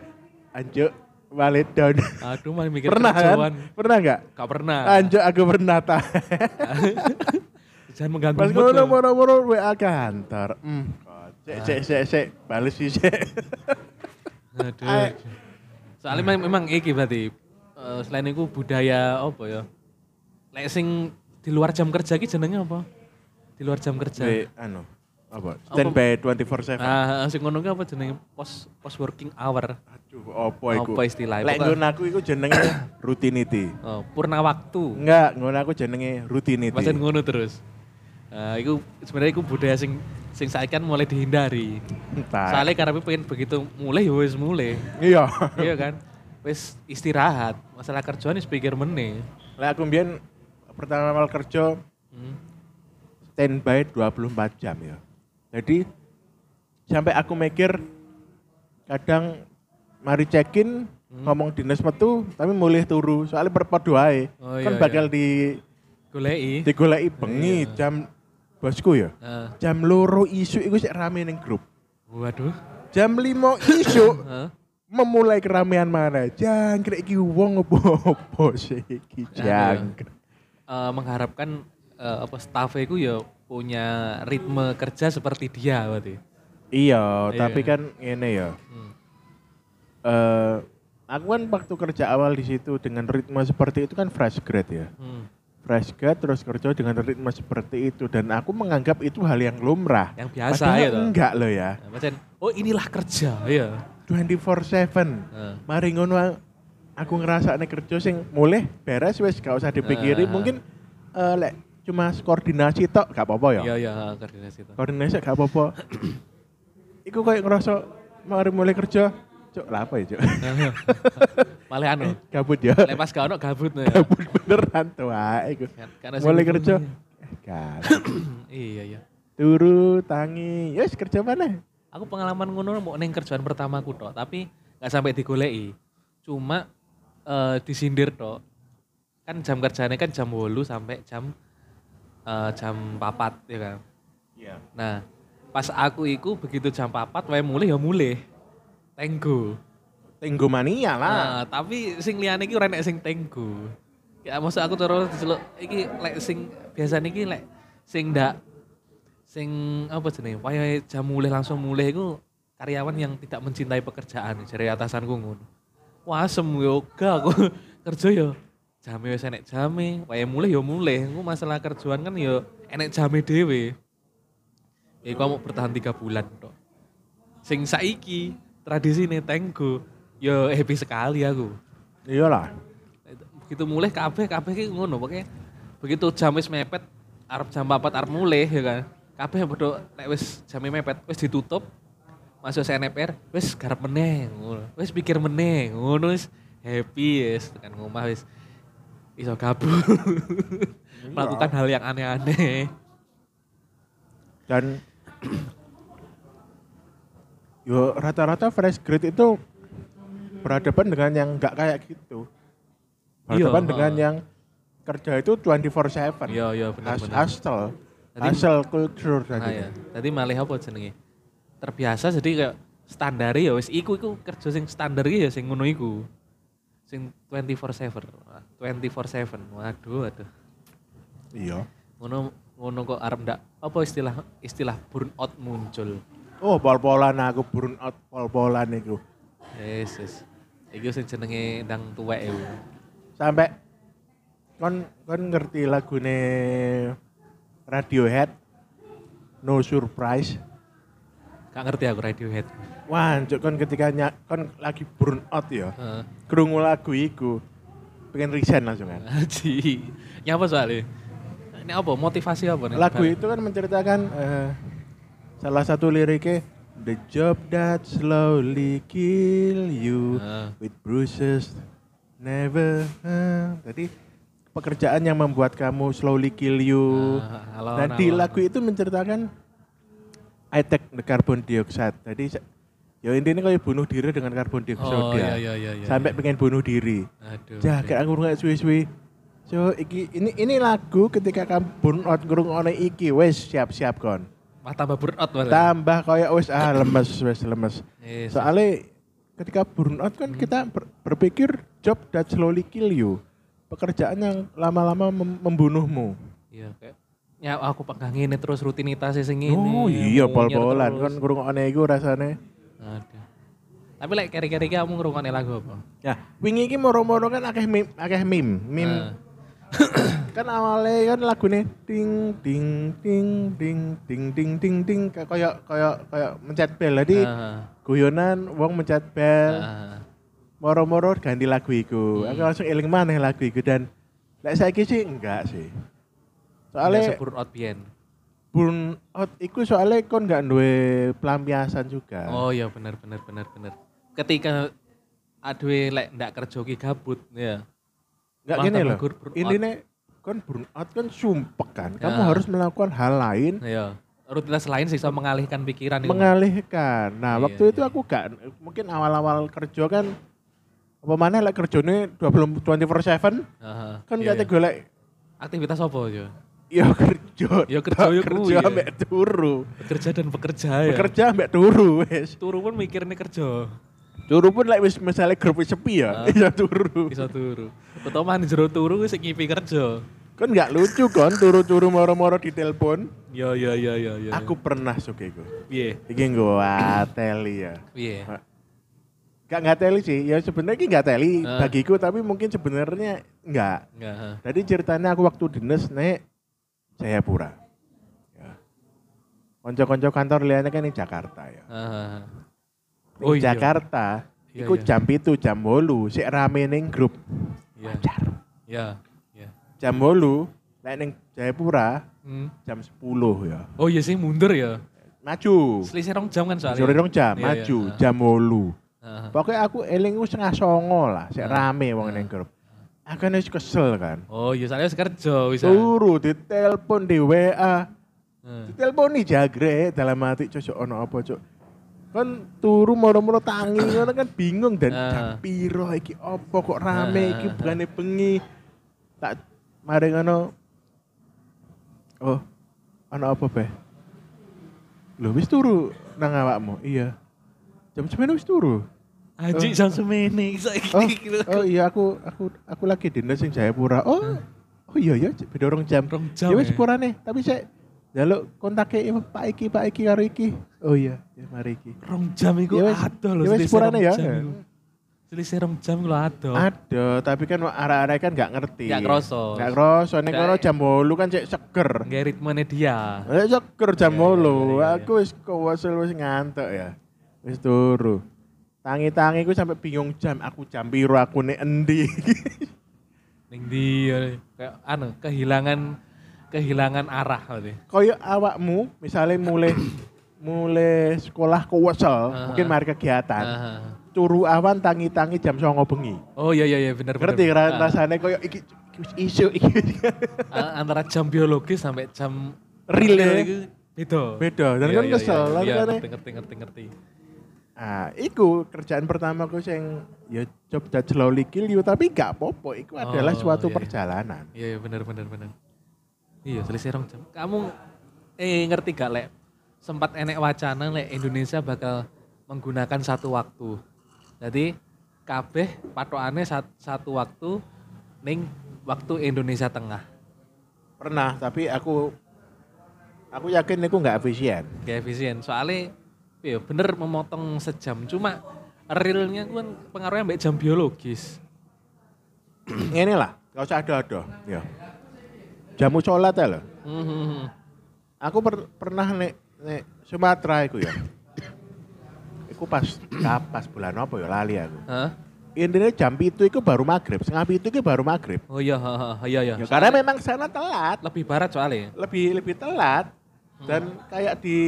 Speaker 2: anjuk balik down.
Speaker 1: Aduh, malah mikir
Speaker 2: pernah kan?
Speaker 1: kerjaan.
Speaker 2: Pernah nggak?
Speaker 1: Gak pernah.
Speaker 2: Anjuk aku pernah ta.
Speaker 1: Jangan mengganggu
Speaker 2: Pas
Speaker 1: mood
Speaker 2: ngono
Speaker 1: loh.
Speaker 2: moro-moro WA kantor. Hmm. Cek cek
Speaker 1: Nah.
Speaker 2: cek cek bales sih cek.
Speaker 1: Aduh. Soalnya memang, memang iki berarti eh, selain itu budaya apa ya? Lek sing di luar jam kerja ki jenenge apa? Di luar jam kerja.
Speaker 2: Di anu apa? Standby 24/7.
Speaker 1: Nah, sing ngono ki apa jenenge pos pos working hour.
Speaker 2: Aduh, opo iku?
Speaker 1: Apa istilahnya?
Speaker 2: Lek
Speaker 1: Pokok-
Speaker 2: ngono aku iku jenenge rutinity.
Speaker 1: Oh, purna waktu.
Speaker 2: Enggak, ngono aku jenenge rutinity.
Speaker 1: Pancen ngono terus. Nah, iku sebenarnya iku budaya sing sing saiki kan mulai dihindari.
Speaker 2: Entah.
Speaker 1: Soalnya karena pengen begitu mulai ya wis mulai.
Speaker 2: Iya.
Speaker 1: iya kan? Wis istirahat. Masalah kerjaan wis pikir meneh.
Speaker 2: Lah aku mbien pertama kali kerja
Speaker 1: Hmm.
Speaker 2: standby 24 jam ya. Jadi sampai aku mikir kadang mari check in
Speaker 1: Hmm.
Speaker 2: ngomong dinas metu tapi mulih turu soalnya perpadu ae.
Speaker 1: Oh, iya,
Speaker 2: kan bakal di
Speaker 1: Golei.
Speaker 2: digoleki bengi jam bosku ya.
Speaker 1: Heeh.
Speaker 2: Jam loro isu itu sik rame ning grup.
Speaker 1: waduh. Eh,
Speaker 2: Jam lima isu
Speaker 1: Heeh.
Speaker 2: memulai keramaian mana? Jangkrik iki wong opo-opo sih iki jangkrik.
Speaker 1: eh, mengharapkan eh, apa staff itu ya punya ritme kerja seperti dia berarti. Iya.
Speaker 2: Iya, tapi kan ini ya.
Speaker 1: Hmm.
Speaker 2: Eh, aku kan waktu kerja awal di situ dengan ritme seperti itu kan fresh grad ya.
Speaker 1: Hmm.
Speaker 2: Fresh grad terus kerja dengan ritme seperti itu dan aku menganggap itu hal yang lumrah.
Speaker 1: Yang biasa
Speaker 2: Padahal
Speaker 1: gitu.
Speaker 2: enggak loh ya.
Speaker 1: Nah, macam, oh inilah kerja, ya.
Speaker 2: 24/7.
Speaker 1: Nah,
Speaker 2: Mari ngono aku ngerasa nek kerja sing mulai beres wis gak usah dipikiri
Speaker 1: Ah.
Speaker 2: mungkin eh, lek cuma koordinasi tok gak apa-apa
Speaker 1: Iya,
Speaker 2: ya.
Speaker 1: iya, koordinasi itu.
Speaker 2: koordinasi gak apa-apa. Iku kayak ngerasa mari mulai kerja, cok lah apa ya cok?
Speaker 1: Malah anu,
Speaker 2: Gabut ya,
Speaker 1: lepas gak ono gabut no, ya.
Speaker 2: gabut beneran tuh ah. Iku.
Speaker 1: Kan- karena
Speaker 2: Mulai
Speaker 1: sibuk
Speaker 2: kerja,
Speaker 1: dulu.
Speaker 2: eh, gak.
Speaker 1: iya, iya.
Speaker 2: turu tangi, yes kerja mana?
Speaker 1: Aku pengalaman ngono mau neng kerjaan pertamaku tok, tapi nggak sampai digoleki. Cuma eh, disindir tok. Kan jam kerjanya kan jam 8 sampai jam eh, jam 4 ya kan.
Speaker 2: Iya.
Speaker 1: Nah, pas aku iku begitu jam 4 wae mulih ya mulih. Tenggo.
Speaker 2: Tenggo mania lah.
Speaker 1: Nah, tapi sing liyane iki ora enek sing tenggo. Ya maksud aku terus diceluk iki lek sing biasane iki lek sing ndak sing apa jenenge wayahe jam mulih langsung mulih iku karyawan yang tidak mencintai pekerjaan jare atasanku ngono. Wah, asem yoga aku kerja yo jame wis enek jame, wayahe mulih yo mulih. Engko masalah kerjaan kan yo enek jame dhewe. Ya iku mau bertahan tiga bulan tok. Sing saiki tradisi nih tenggo. Yo happy sekali aku.
Speaker 2: Iyalah.
Speaker 1: Begitu mulai kabeh kabeh ki ngono pokoknya. Begitu jam wis mepet arep jam 4 arep mulai ya kan. Kabeh padha nek wis jam e mepet wis ditutup masuk CNPR wis garap meneh ngono. Wis pikir meneh ngono wis happy wis tekan ngomah wis iso gabut. Melakukan hal yang aneh-aneh.
Speaker 2: Dan yo rata-rata fresh grade itu berhadapan dengan yang nggak kayak gitu.
Speaker 1: Iya,
Speaker 2: Berhadapan
Speaker 1: ha.
Speaker 2: dengan yang kerja itu 24/7.
Speaker 1: Iya, iya, benar,
Speaker 2: Has-
Speaker 1: benar.
Speaker 2: Hustle.
Speaker 1: Jadi-
Speaker 2: Hustle culture
Speaker 1: Nah,
Speaker 2: tadi. kan.
Speaker 1: ya. Tadi malah apa jenenge? Terbiasa jadi kayak standar ya wis iku iku kerja sing standar iki ya sing ngono iku. Sing 24/7. Wah, 24/7. Waduh, waduh.
Speaker 2: Iya.
Speaker 1: Ngono ngono kok arep ndak apa istilah istilah burnout muncul.
Speaker 2: Oh, pol-polan aku burn out pol-polan itu.
Speaker 1: Yes, yes. Iku sing jenenge ndang tuwek iku.
Speaker 2: Sampai kon kon ngerti lagune Radiohead No Surprise.
Speaker 1: Gak ngerti aku Radiohead.
Speaker 2: Wah, Cuk, kon ketika ny- kon lagi burn out ya.
Speaker 1: Heeh.
Speaker 2: Krungu lagu iku pengen resign langsung kan.
Speaker 1: Aji. Nyapa soalnya? Ini apa? Motivasi apa nih?
Speaker 2: Lagu itu kan menceritakan eh, salah satu liriknya The job that slowly kill you
Speaker 1: Ah.
Speaker 2: with bruises never. ah." Jadi pekerjaan yang membuat kamu slowly kill you.
Speaker 1: Ah, alon,
Speaker 2: Dan di
Speaker 1: alon.
Speaker 2: lagu itu menceritakan I take the carbon dioxide. Jadi se- ya intinya kayak bunuh diri dengan karbon dioksida.
Speaker 1: Oh, iya, iya, iya, iya,
Speaker 2: Sampai pengen bunuh diri.
Speaker 1: Aduh.
Speaker 2: Jaga aku nggak suwi-suwi. So, iki ini ini lagu ketika kamu burn out ngurung oleh iki wes siap-siap kon.
Speaker 1: Wah, tambah burnout malah.
Speaker 2: Tambah kaya wes ah lemes wes lemes.
Speaker 1: Yes. Hmm.
Speaker 2: Soalnya ketika burn out kan kita ber- berpikir job that slowly kill you. Pekerjaan yang lama-lama mem- membunuhmu.
Speaker 1: Iya kayak ya aku pegang ini terus rutinitas sing ini.
Speaker 2: oh
Speaker 1: munyer
Speaker 2: iya pol-polan
Speaker 1: terus.
Speaker 2: kan ngurung oleh iku rasane.
Speaker 1: Aduh. Tapi lek keri-keri iki kamu ngrungokne lagu apa?
Speaker 2: Ya, wingi iki moro-moro kan akeh meme, akeh meme, meme
Speaker 1: Nah,
Speaker 2: kan awalnya kan lagunya ting ting ting ting ting ting ting ting kayak kayak kayak kayak mencet bel jadi
Speaker 1: ah,
Speaker 2: guyonan wong mencet bel
Speaker 1: ah.
Speaker 2: moro-moro ganti lagu iku
Speaker 1: Hmm.
Speaker 2: aku langsung eling maneh lagu iku dan lek saiki sih enggak sih
Speaker 1: Biasa
Speaker 2: soalnya
Speaker 1: burnout biyen.
Speaker 2: burn out iku soalnya kon enggak duwe pelampiasan juga
Speaker 1: Oh iya benar benar benar benar. Ketika aduh lek ndak kerja ki gabut ya.
Speaker 2: enggak
Speaker 1: malah
Speaker 2: gini
Speaker 1: tambah
Speaker 2: loh
Speaker 1: gur- burn out.
Speaker 2: intinya kon burn out kan sumpek kan kamu
Speaker 1: Ya.
Speaker 2: harus melakukan hal lain
Speaker 1: Ya. Rutinitas lain sih bisa mengalihkan pikiran itu.
Speaker 2: mengalihkan. Nah,
Speaker 1: Iya,
Speaker 2: waktu itu aku gak mungkin awal-awal kerja kan apa mana lek kerjane 20 24/7
Speaker 1: Ah,
Speaker 2: kan
Speaker 1: iya,
Speaker 2: gak
Speaker 1: iya.
Speaker 2: tega lek
Speaker 1: aktivitas apa ya?
Speaker 2: ya kerja.
Speaker 1: Ya kerja, ya
Speaker 2: kerja
Speaker 1: kuwi, ya.
Speaker 2: ambek turu.
Speaker 1: Bekerja dan bekerja ya.
Speaker 2: Bekerja ambek turu wis.
Speaker 1: Turu pun mikirnya kerja.
Speaker 2: Turu pun lek wis misalnya grup wis sepi ya,
Speaker 1: Ah.
Speaker 2: iya turu.
Speaker 1: Bisa turu. Utama nih jero turu wis ngipi kerja.
Speaker 2: Kan nggak lucu kon turu-turu moro-moro di telepon.
Speaker 1: Yo yo yo yo yo.
Speaker 2: Aku pernah sugego.
Speaker 1: piye?
Speaker 2: Iki gua teli ya.
Speaker 1: Piye?
Speaker 2: Gak nggak teli sih. Ya sebenarnya ini nggak teli
Speaker 1: Eh.
Speaker 2: bagiku tapi mungkin sebenarnya nggak.
Speaker 1: Enggak. ha.
Speaker 2: Tadi ceritanya aku waktu dinas naik Jayapura. Ya. Konco-konco kantor liane kan di Jakarta ya.
Speaker 1: Ha, ha, ha.
Speaker 2: Di
Speaker 1: Oh, iya.
Speaker 2: Jakarta,
Speaker 1: Iya,
Speaker 2: iku
Speaker 1: iya.
Speaker 2: jam itu jam bolu, si rame neng grup.
Speaker 1: Iya.
Speaker 2: Wajar.
Speaker 1: Ya. Ya.
Speaker 2: Jam bolu, naik neng Jayapura
Speaker 1: Hmm.
Speaker 2: jam 10 ya.
Speaker 1: Oh iya sih mundur ya.
Speaker 2: Maju.
Speaker 1: Selisih rong jam kan soalnya.
Speaker 2: Sore dong jam,
Speaker 1: Iya, iya.
Speaker 2: maju
Speaker 1: Ha,
Speaker 2: jam bolu.
Speaker 1: ha, ha.
Speaker 2: Pokoknya aku eling ku setengah songo lah, si rame wong neng grup. Aku kan wis kesel kan.
Speaker 1: Oh iya soalnya wis kerja bisa.
Speaker 2: Turu ditelepon di WA. Ditelponi jagre dalam hati cocok ono apa cok. Kan turu moro-moro tangi ngono kan bingung dan
Speaker 1: Ah.
Speaker 2: jam piro iki apa kok rame iki
Speaker 1: Ah.
Speaker 2: bukane bengi. Tak mari ngono. Oh, ono apa be? Lho wis turu nang awakmu. Iya. Jam semene wis turu.
Speaker 1: Anjing jam semene saiki.
Speaker 2: Oh, oh iya aku aku aku lagi dinas sing Jayapura. Oh. Oh iya ya beda rong jam.
Speaker 1: Rong Hmm. jam,
Speaker 2: Ya wis
Speaker 1: ya.
Speaker 2: purane, tapi saya njaluk kontake ya, Pak iki Pak iki karo iki. Oh iya, ya mari iki.
Speaker 1: Rong jam iku
Speaker 2: Ya wis,
Speaker 1: adoh lho.
Speaker 2: ya wis
Speaker 1: selisih rong
Speaker 2: sepurane ya.
Speaker 1: jam iku. Selisih rong jam iku lho adoh.
Speaker 2: Aduh, tapi kan arah-arah kan gak ngerti.
Speaker 1: Nggak kroso.
Speaker 2: Gak kroso. Nek
Speaker 1: Nggak-
Speaker 2: kono jam 8 kan cek seger.
Speaker 1: Nggak ritmenya dia.
Speaker 2: Eh seger jam
Speaker 1: Iya, iya,
Speaker 2: 8.
Speaker 1: iya, iya.
Speaker 2: Aku wis kewasel wis ngantuk ya. Wis turu. Tangi-tangi ku sampai bingung jam, aku jam piro aku nek endi.
Speaker 1: Ning di kayak anu kehilangan kehilangan arah berarti.
Speaker 2: Koyo awakmu misalnya mulai mulai sekolah kewasel,
Speaker 1: Aha.
Speaker 2: mungkin mari kegiatan.
Speaker 1: Aha.
Speaker 2: turu awan tangi-tangi jam songo bengi.
Speaker 1: Oh iya iya iya benar benar.
Speaker 2: Ngerti
Speaker 1: Ah,
Speaker 2: kan rasanya koyo iki iki wis isu iki.
Speaker 1: ah, antara jam biologis sampai jam
Speaker 2: Real ya.
Speaker 1: iku beda.
Speaker 2: Beda, dan
Speaker 1: Iya,
Speaker 2: kan
Speaker 1: iya,
Speaker 2: kesel,
Speaker 1: iya,
Speaker 2: kan
Speaker 1: Iya,
Speaker 2: kan ya.
Speaker 1: ngerti ngerti ngerti ngerti.
Speaker 2: Ah, iku kerjaan pertamaku sing ya coba slowly kill you tapi gak popo iku
Speaker 1: Oh,
Speaker 2: adalah
Speaker 1: iya,
Speaker 2: suatu
Speaker 1: iya.
Speaker 2: perjalanan.
Speaker 1: Iya iya benar benar benar. Iya selisih rong jam. Kamu eh ngerti gak lek sempat enek wacana lek Indonesia bakal menggunakan satu waktu. Jadi kabeh patokane sat- satu waktu ning waktu Indonesia Tengah.
Speaker 2: Pernah, tapi aku aku yakin iku gak efisien.
Speaker 1: gak efisien soalnya ya bener memotong sejam cuma realnya kan pengaruhnya sampai jam biologis
Speaker 2: Ngene lah, gak usah ada-ada. Ya. Jamu sholat ya lho.
Speaker 1: Mhm.
Speaker 2: Aku per- pernah nek nek Sumatera iku ya. Iku pas pas bulan apa ya lali aku.
Speaker 1: Hah?
Speaker 2: intinya jam itu itu baru maghrib setengah itu itu baru maghrib
Speaker 1: oh iya ha, ha, ha, iya iya
Speaker 2: ya, karena memang sana telat
Speaker 1: lebih barat soalnya
Speaker 2: lebih lebih telat dan kayak di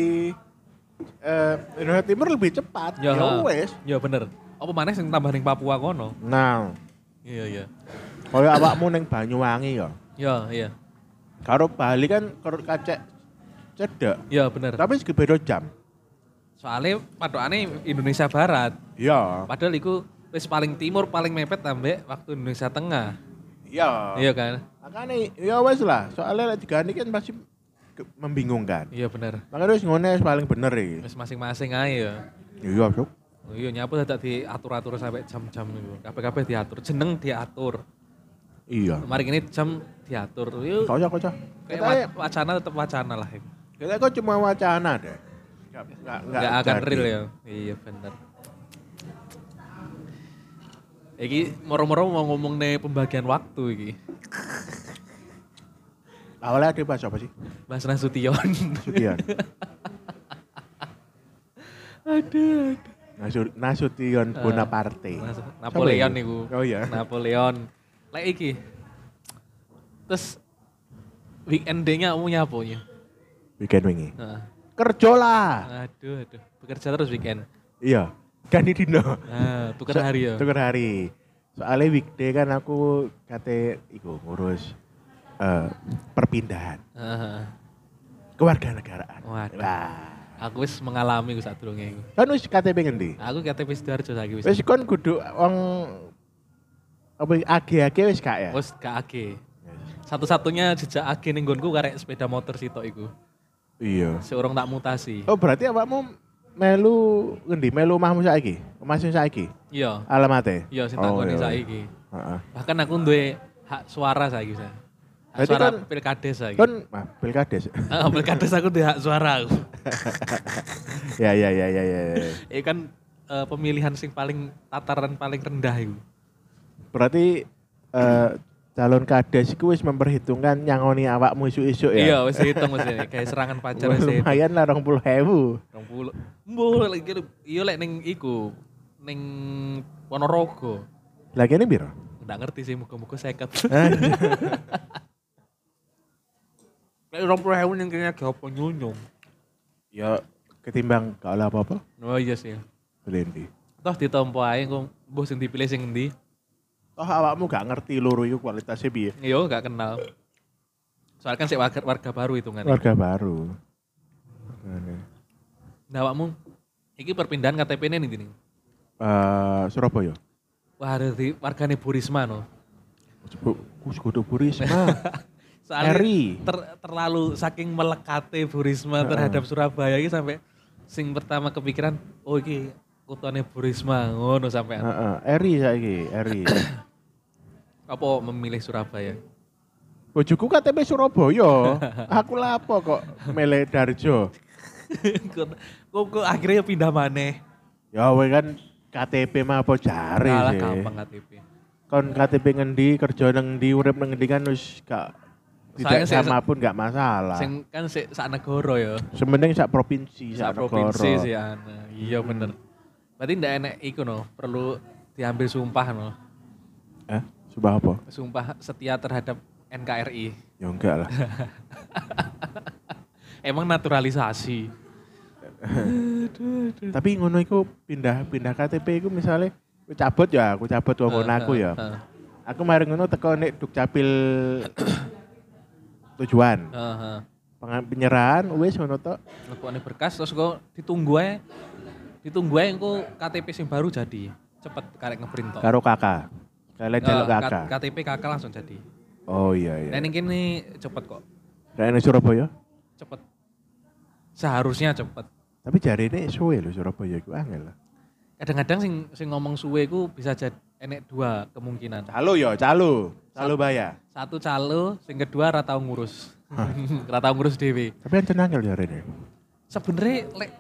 Speaker 2: eh, Indonesia Timur lebih cepat ya,
Speaker 1: ha.
Speaker 2: wes
Speaker 1: ya bener apa mana yang tambah ning Papua kono
Speaker 2: nah
Speaker 1: iya iya
Speaker 2: kalau awakmu neng Banyuwangi ya
Speaker 1: iya iya
Speaker 2: karo Bali kan karo kacek cedek
Speaker 1: iya bener
Speaker 2: tapi segi beda jam
Speaker 1: soalnya patokannya Indonesia Barat
Speaker 2: ya
Speaker 1: padahal itu wis paling timur paling mepet sampai waktu Indonesia Tengah
Speaker 2: ya
Speaker 1: iya kan
Speaker 2: makanya ya wes lah soalnya lagi ganti kan pasti ke- membingungkan
Speaker 1: iya bener
Speaker 2: makanya wes ngono wes paling bener iki.
Speaker 1: wis masing-masing aja ya
Speaker 2: iya Sok.
Speaker 1: Oh iya nyapu tidak diatur-atur sampai jam-jam itu. Kabeh-kabeh diatur, jeneng diatur.
Speaker 2: iya
Speaker 1: Kemarin ini jam diatur. Yo
Speaker 2: kocok kocok
Speaker 1: kayak
Speaker 2: Kita- ya-
Speaker 1: wa- wacana tetap wacana lah. itu.
Speaker 2: Kita kok cuma wacana deh. Nggak, nggak, nggak
Speaker 1: Nggak akan
Speaker 2: jadi.
Speaker 1: real ya. Iya bener. Iki moro-moro mau ngomong nih pembagian waktu iki.
Speaker 2: Awalnya ada bahas apa sih?
Speaker 1: Mas Nasution.
Speaker 2: Sution.
Speaker 1: aduh, aduh.
Speaker 2: Nasu- Nasution Bonaparte.
Speaker 1: Nas-
Speaker 2: Siapa
Speaker 1: Eh, Napoleon Nah.
Speaker 2: ya?
Speaker 1: niku.
Speaker 2: Oh iya.
Speaker 1: Napoleon. Lek iki. Terus weekendnya kamu nyapunya.
Speaker 2: Weekend wingi.
Speaker 1: Heeh.
Speaker 2: Kerja lah.
Speaker 1: Aduh, aduh. Bekerja terus weekend.
Speaker 2: Iya. Ganti dino.
Speaker 1: Ah, tukar
Speaker 2: So-
Speaker 1: hari ya.
Speaker 2: Tukar hari. Soalnya weekday kan aku kate iku ngurus eh, perpindahan
Speaker 1: Ah,
Speaker 2: kewarganegaraan.
Speaker 1: Waduh.
Speaker 2: Wah.
Speaker 1: aku wis mengalami wis sadurunge iku.
Speaker 2: Kan wis KTP ngendi?
Speaker 1: Aku KTP Sidoarjo saiki wis.
Speaker 2: Wis kon kudu wong apa age-age wis gak ya?
Speaker 1: Wis gak age. Satu-satunya jejak age ning nggonku karek sepeda motor sitok iku.
Speaker 2: Iya.
Speaker 1: Seorang tak mutasi.
Speaker 2: Oh berarti awakmu melu ngendi? Melu omahmu saiki? Omah sing saiki?
Speaker 1: Iya.
Speaker 2: Alamate?
Speaker 1: Iya sing takoni
Speaker 2: iya.
Speaker 1: saiki.
Speaker 2: Heeh.
Speaker 1: Bahkan aku duwe hak suara saiki wis. Hak
Speaker 2: Berarti
Speaker 1: suara
Speaker 2: kan-
Speaker 1: pilkades lagi.
Speaker 2: Kan mah pilkades.
Speaker 1: Ah, pilkades aku di hak suara aku.
Speaker 2: ya ya ya ya ya. ya.
Speaker 1: Itu kan eh, pemilihan sing paling tataran paling rendah itu.
Speaker 2: Berarti eh, calon kades iku wis memperhitungkan nyangoni awakmu isuk-isuk
Speaker 1: Iya,
Speaker 2: ya.
Speaker 1: wis hitung wis ini. Kayak serangan pacar wis hitung.
Speaker 2: Lumayan lah 20.000.
Speaker 1: 20. Mbuh lek iki- iya lek ning iku ning Ponorogo.
Speaker 2: Lagi ini biro.
Speaker 1: Nggak ngerti sih muka-muka seket. Lek 20.000 ning kene gak apa nyunyung.
Speaker 2: Ya ketimbang gak olah apa-apa.
Speaker 1: Oh iya sih.
Speaker 2: Belendi.
Speaker 1: Toh ditompo ae engko mbuh sing dipilih sing endi.
Speaker 2: Toh awakmu gak ngerti loro iku kualitasnya piye.
Speaker 1: Yo Iya, gak kenal. Soalnya kan sik warga, warga baru hitungannya.
Speaker 2: Warga baru. Ini.
Speaker 1: Nah, awakmu iki perpindahan KTP-ne ning ndi? nih?
Speaker 2: Eh, Surabaya.
Speaker 1: Wah, di wargane Bu Risma no.
Speaker 2: Sebut kus kudu Burisma.
Speaker 1: Soalnya
Speaker 2: Eri.
Speaker 1: ter- terlalu saking melekati Bu Risma terhadap Surabaya ini sampai sing pertama kepikiran, oh iki kutone Bu Risma ngono sampai
Speaker 2: Heeh, Eri saiki, Eri.
Speaker 1: apa memilih Surabaya.
Speaker 2: Bojoku KTP Surabaya. Aku lapo kok milih Darjo.
Speaker 1: Kok- kok kok akhirnya pindah maneh.
Speaker 2: Ya we kan KTP mah apa jare
Speaker 1: Kalah
Speaker 2: sih.
Speaker 1: gampang KTP.
Speaker 2: Kon KTP ngendi, kerja nang ndi, urip nang ngendi kan wis gak
Speaker 1: Soalnya
Speaker 2: tidak
Speaker 1: saya-
Speaker 2: sama pun gak masalah.
Speaker 1: Sing kan sik sak negara ya.
Speaker 2: Sementing sak
Speaker 1: Sak
Speaker 2: provinsi, Iya, sak
Speaker 1: provinsi
Speaker 2: negara.
Speaker 1: sih ana. Iya bener. Berarti ndak enek iku no, perlu diambil sumpah no.
Speaker 2: Eh, sumpah apa?
Speaker 1: Sumpah setia terhadap NKRI.
Speaker 2: Ya enggak lah.
Speaker 1: Emang naturalisasi.
Speaker 2: Tapi ngono iku pindah-pindah KTP iku misalnya aku cabut ya, aku cabut wong aku ya.
Speaker 1: Heeh,
Speaker 2: Aku mari ngono teko nek Dukcapil tujuan.
Speaker 1: heeh, heeh.
Speaker 2: Penga- Penyerahan wis ngono tok.
Speaker 1: Lekukane berkas terus kok ditunggu ae. Ditunggu ae engko KTP sing baru jadi. Cepet karek ngeprint tok.
Speaker 2: karo kakak. Kalian
Speaker 1: Eh,
Speaker 2: jaluk
Speaker 1: K-
Speaker 2: kakak.
Speaker 1: KTP kakak langsung jadi.
Speaker 2: Oh iya iya.
Speaker 1: Nah ini kini cepet kok.
Speaker 2: Nah, ini Surabaya.
Speaker 1: Cepet. Seharusnya cepet.
Speaker 2: Tapi jari ini suwe lho Surabaya iku angel lah.
Speaker 1: Kadang-kadang sing sing ngomong suwe ku bisa jadi enek dua kemungkinan.
Speaker 2: Calo ya, calo. Calo baya.
Speaker 1: Satu calo, sing kedua ra tau ngurus. ra tau ngurus dhewe.
Speaker 2: Tapi yang tenang ya jari ini.
Speaker 1: Sebenarnya lek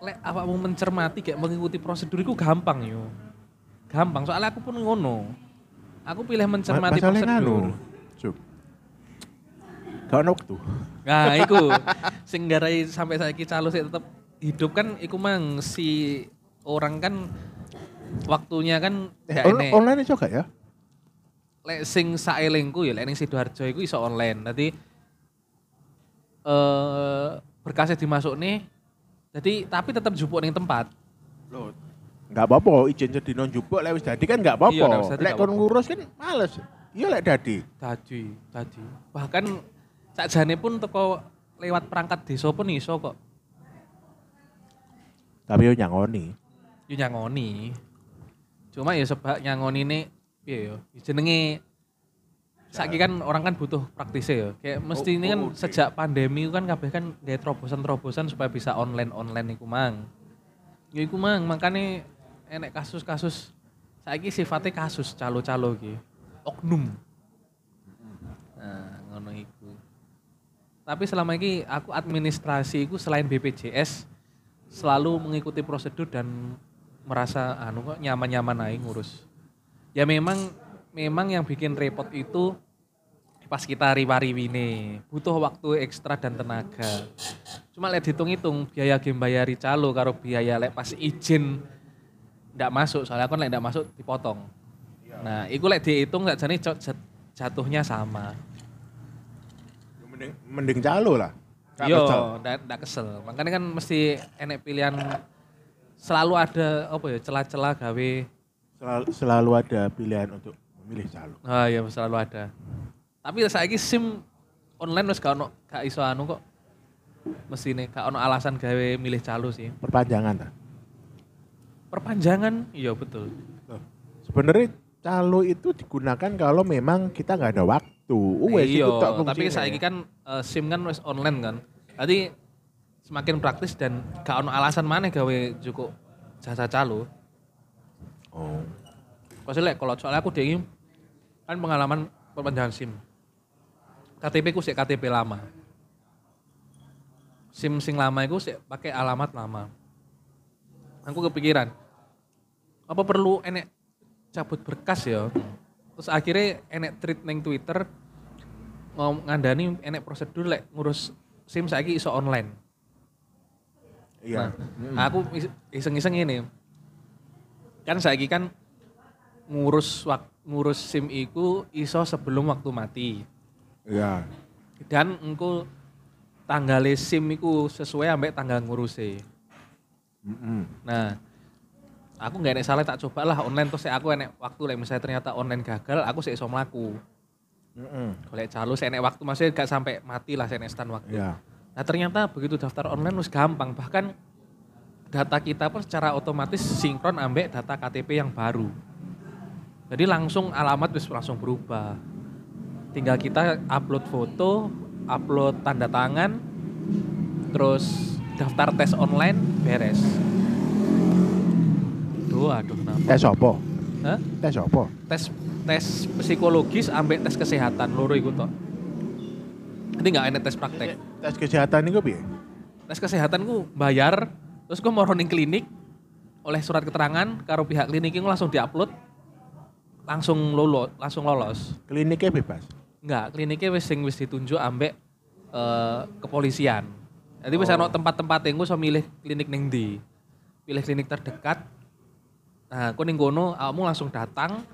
Speaker 1: lek awakmu mencermati kayak mengikuti prosedur itu gampang yo. Gampang, soalnya aku pun ngono. Aku pilih mencermati
Speaker 2: Masalahnya
Speaker 1: prosedur.
Speaker 2: nganu. Cuk. Gak ono waktu.
Speaker 1: Nah, iku sing garai sampai saiki calo sih tetep hidup kan iku mang si orang kan waktunya kan
Speaker 2: Eh,
Speaker 1: gak
Speaker 2: on-
Speaker 1: enek.
Speaker 2: online iso gak ya?
Speaker 1: lek sing saelingku ya lek ning Sidoarjo iku iso online. Dadi eh berkasnya dimasuk nih. Jadi tapi tetap jupuk ning tempat.
Speaker 2: Loh. Gak apa-apa, izin sedino njupuk lek wis dadi kan gak apa-apa.
Speaker 1: Iya, lek wis dadi
Speaker 2: Lek
Speaker 1: gak
Speaker 2: kon
Speaker 1: apa-apa.
Speaker 2: ngurus kan males. Iya lek dadi.
Speaker 1: Tadi, tadi. Bahkan sakjane pun teko lewat perangkat desa pun iso kok.
Speaker 2: Tapi yo nyangoni.
Speaker 1: Yo nyangoni. Cuma ya sebab nyangoni ini piye yo? Jenenge saiki kan orang kan butuh praktisnya ya. Kayak mesti ini kan
Speaker 2: oh, oke.
Speaker 1: sejak pandemi itu kan kabeh kan dia terobosan-terobosan supaya bisa online-online iku mang. Ya iku mang, makane enek kasus-kasus saiki sifatnya kasus calo-calo iki. Oknum. Nah, ngono iku. Tapi selama ini aku administrasi itu selain BPJS selalu mengikuti prosedur dan merasa anu kok nyaman-nyaman aja ngurus. Ya memang memang yang bikin repot itu pas kita riwariwine butuh waktu ekstra dan tenaga. Cuma lihat hitung-hitung biaya game bayari calo karo biaya lek pas izin ndak masuk soalnya kan lek ndak masuk dipotong. Nah, iku lek dihitung sakjane co- jat- jatuhnya sama.
Speaker 2: Mending, mending calo lah. Gak
Speaker 1: Yo,
Speaker 2: kesel.
Speaker 1: ndak ndak kesel. Makanya kan mesti enek pilihan selalu ada apa ya celah-celah gawe.
Speaker 2: Selalu, selalu ada pilihan untuk memilih calo.
Speaker 1: Ah ya selalu ada. Tapi saiki SIM online wis gak ono gak iso anu kok. Mestine gak ono alasan gawe milih calo sih.
Speaker 2: Perpanjangan ta.
Speaker 1: Perpanjangan, iya betul.
Speaker 2: Loh, Sebenarnya calo itu digunakan kalau memang kita nggak ada waktu. Uwes
Speaker 1: Iya,
Speaker 2: Oh, itu ya? tok
Speaker 1: tapi
Speaker 2: fungsinya.
Speaker 1: saiki kan eh, SIM kan wis online kan. Tadi semakin praktis dan gak ono alasan maneh gawe cukup jasa calo.
Speaker 2: Oh.
Speaker 1: Pasti lek kalau soalnya aku dingin kan pengalaman perpanjangan SIM. KTP ku sik KTP lama. SIM sing lama iku sik pakai alamat lama. Aku kepikiran. Apa perlu enek cabut berkas ya? Terus akhirnya enek tweet neng Twitter ngom- ngandani enek prosedur lek ngurus SIM saiki iso online.
Speaker 2: Iya.
Speaker 1: Nah, aku is- iseng-iseng ini. Kan saiki kan ngurus wak- ngurus SIM iku iso sebelum waktu mati.
Speaker 2: Iya.
Speaker 1: Dan engko tanggale SIM iku sesuai ambek tanggal nguruse.
Speaker 2: Mm-mm.
Speaker 1: Nah, aku nggak enek salah tak cobalah online terus aku enek waktu lek misalnya ternyata online gagal aku sik iso mlaku.
Speaker 2: Mm-mm.
Speaker 1: Golek calo sik enek waktu masih gak sampai mati lah sik enek stand waktu.
Speaker 2: Iya.
Speaker 1: Nah ternyata begitu daftar online wis gampang bahkan data kita pun secara otomatis sinkron ambek data KTP yang baru. Jadi langsung alamat wis langsung berubah. Tinggal kita upload foto, upload tanda tangan, terus daftar tes online beres. Duh, aduh kenapa?
Speaker 2: Tes apa?
Speaker 1: Hah?
Speaker 2: Tes apa?
Speaker 1: Tes tes psikologis ambek tes kesehatan loro iku tok. Nanti nggak enak tes praktek.
Speaker 2: Tes kesehatan itu piye?
Speaker 1: tes kesehatan ku bayar terus gue mau running klinik oleh surat keterangan karo pihak klinik gue langsung diupload langsung lolo langsung lolos
Speaker 2: Kliniknya bebas.
Speaker 1: enggak kliniknya wis sing wis ditunjuk ambek eh, kepolisian jadi wis
Speaker 2: Oh.
Speaker 1: ana tempat-tempat yang gue so milih klinik neng di pilih klinik terdekat nah gue ning kono kamu langsung datang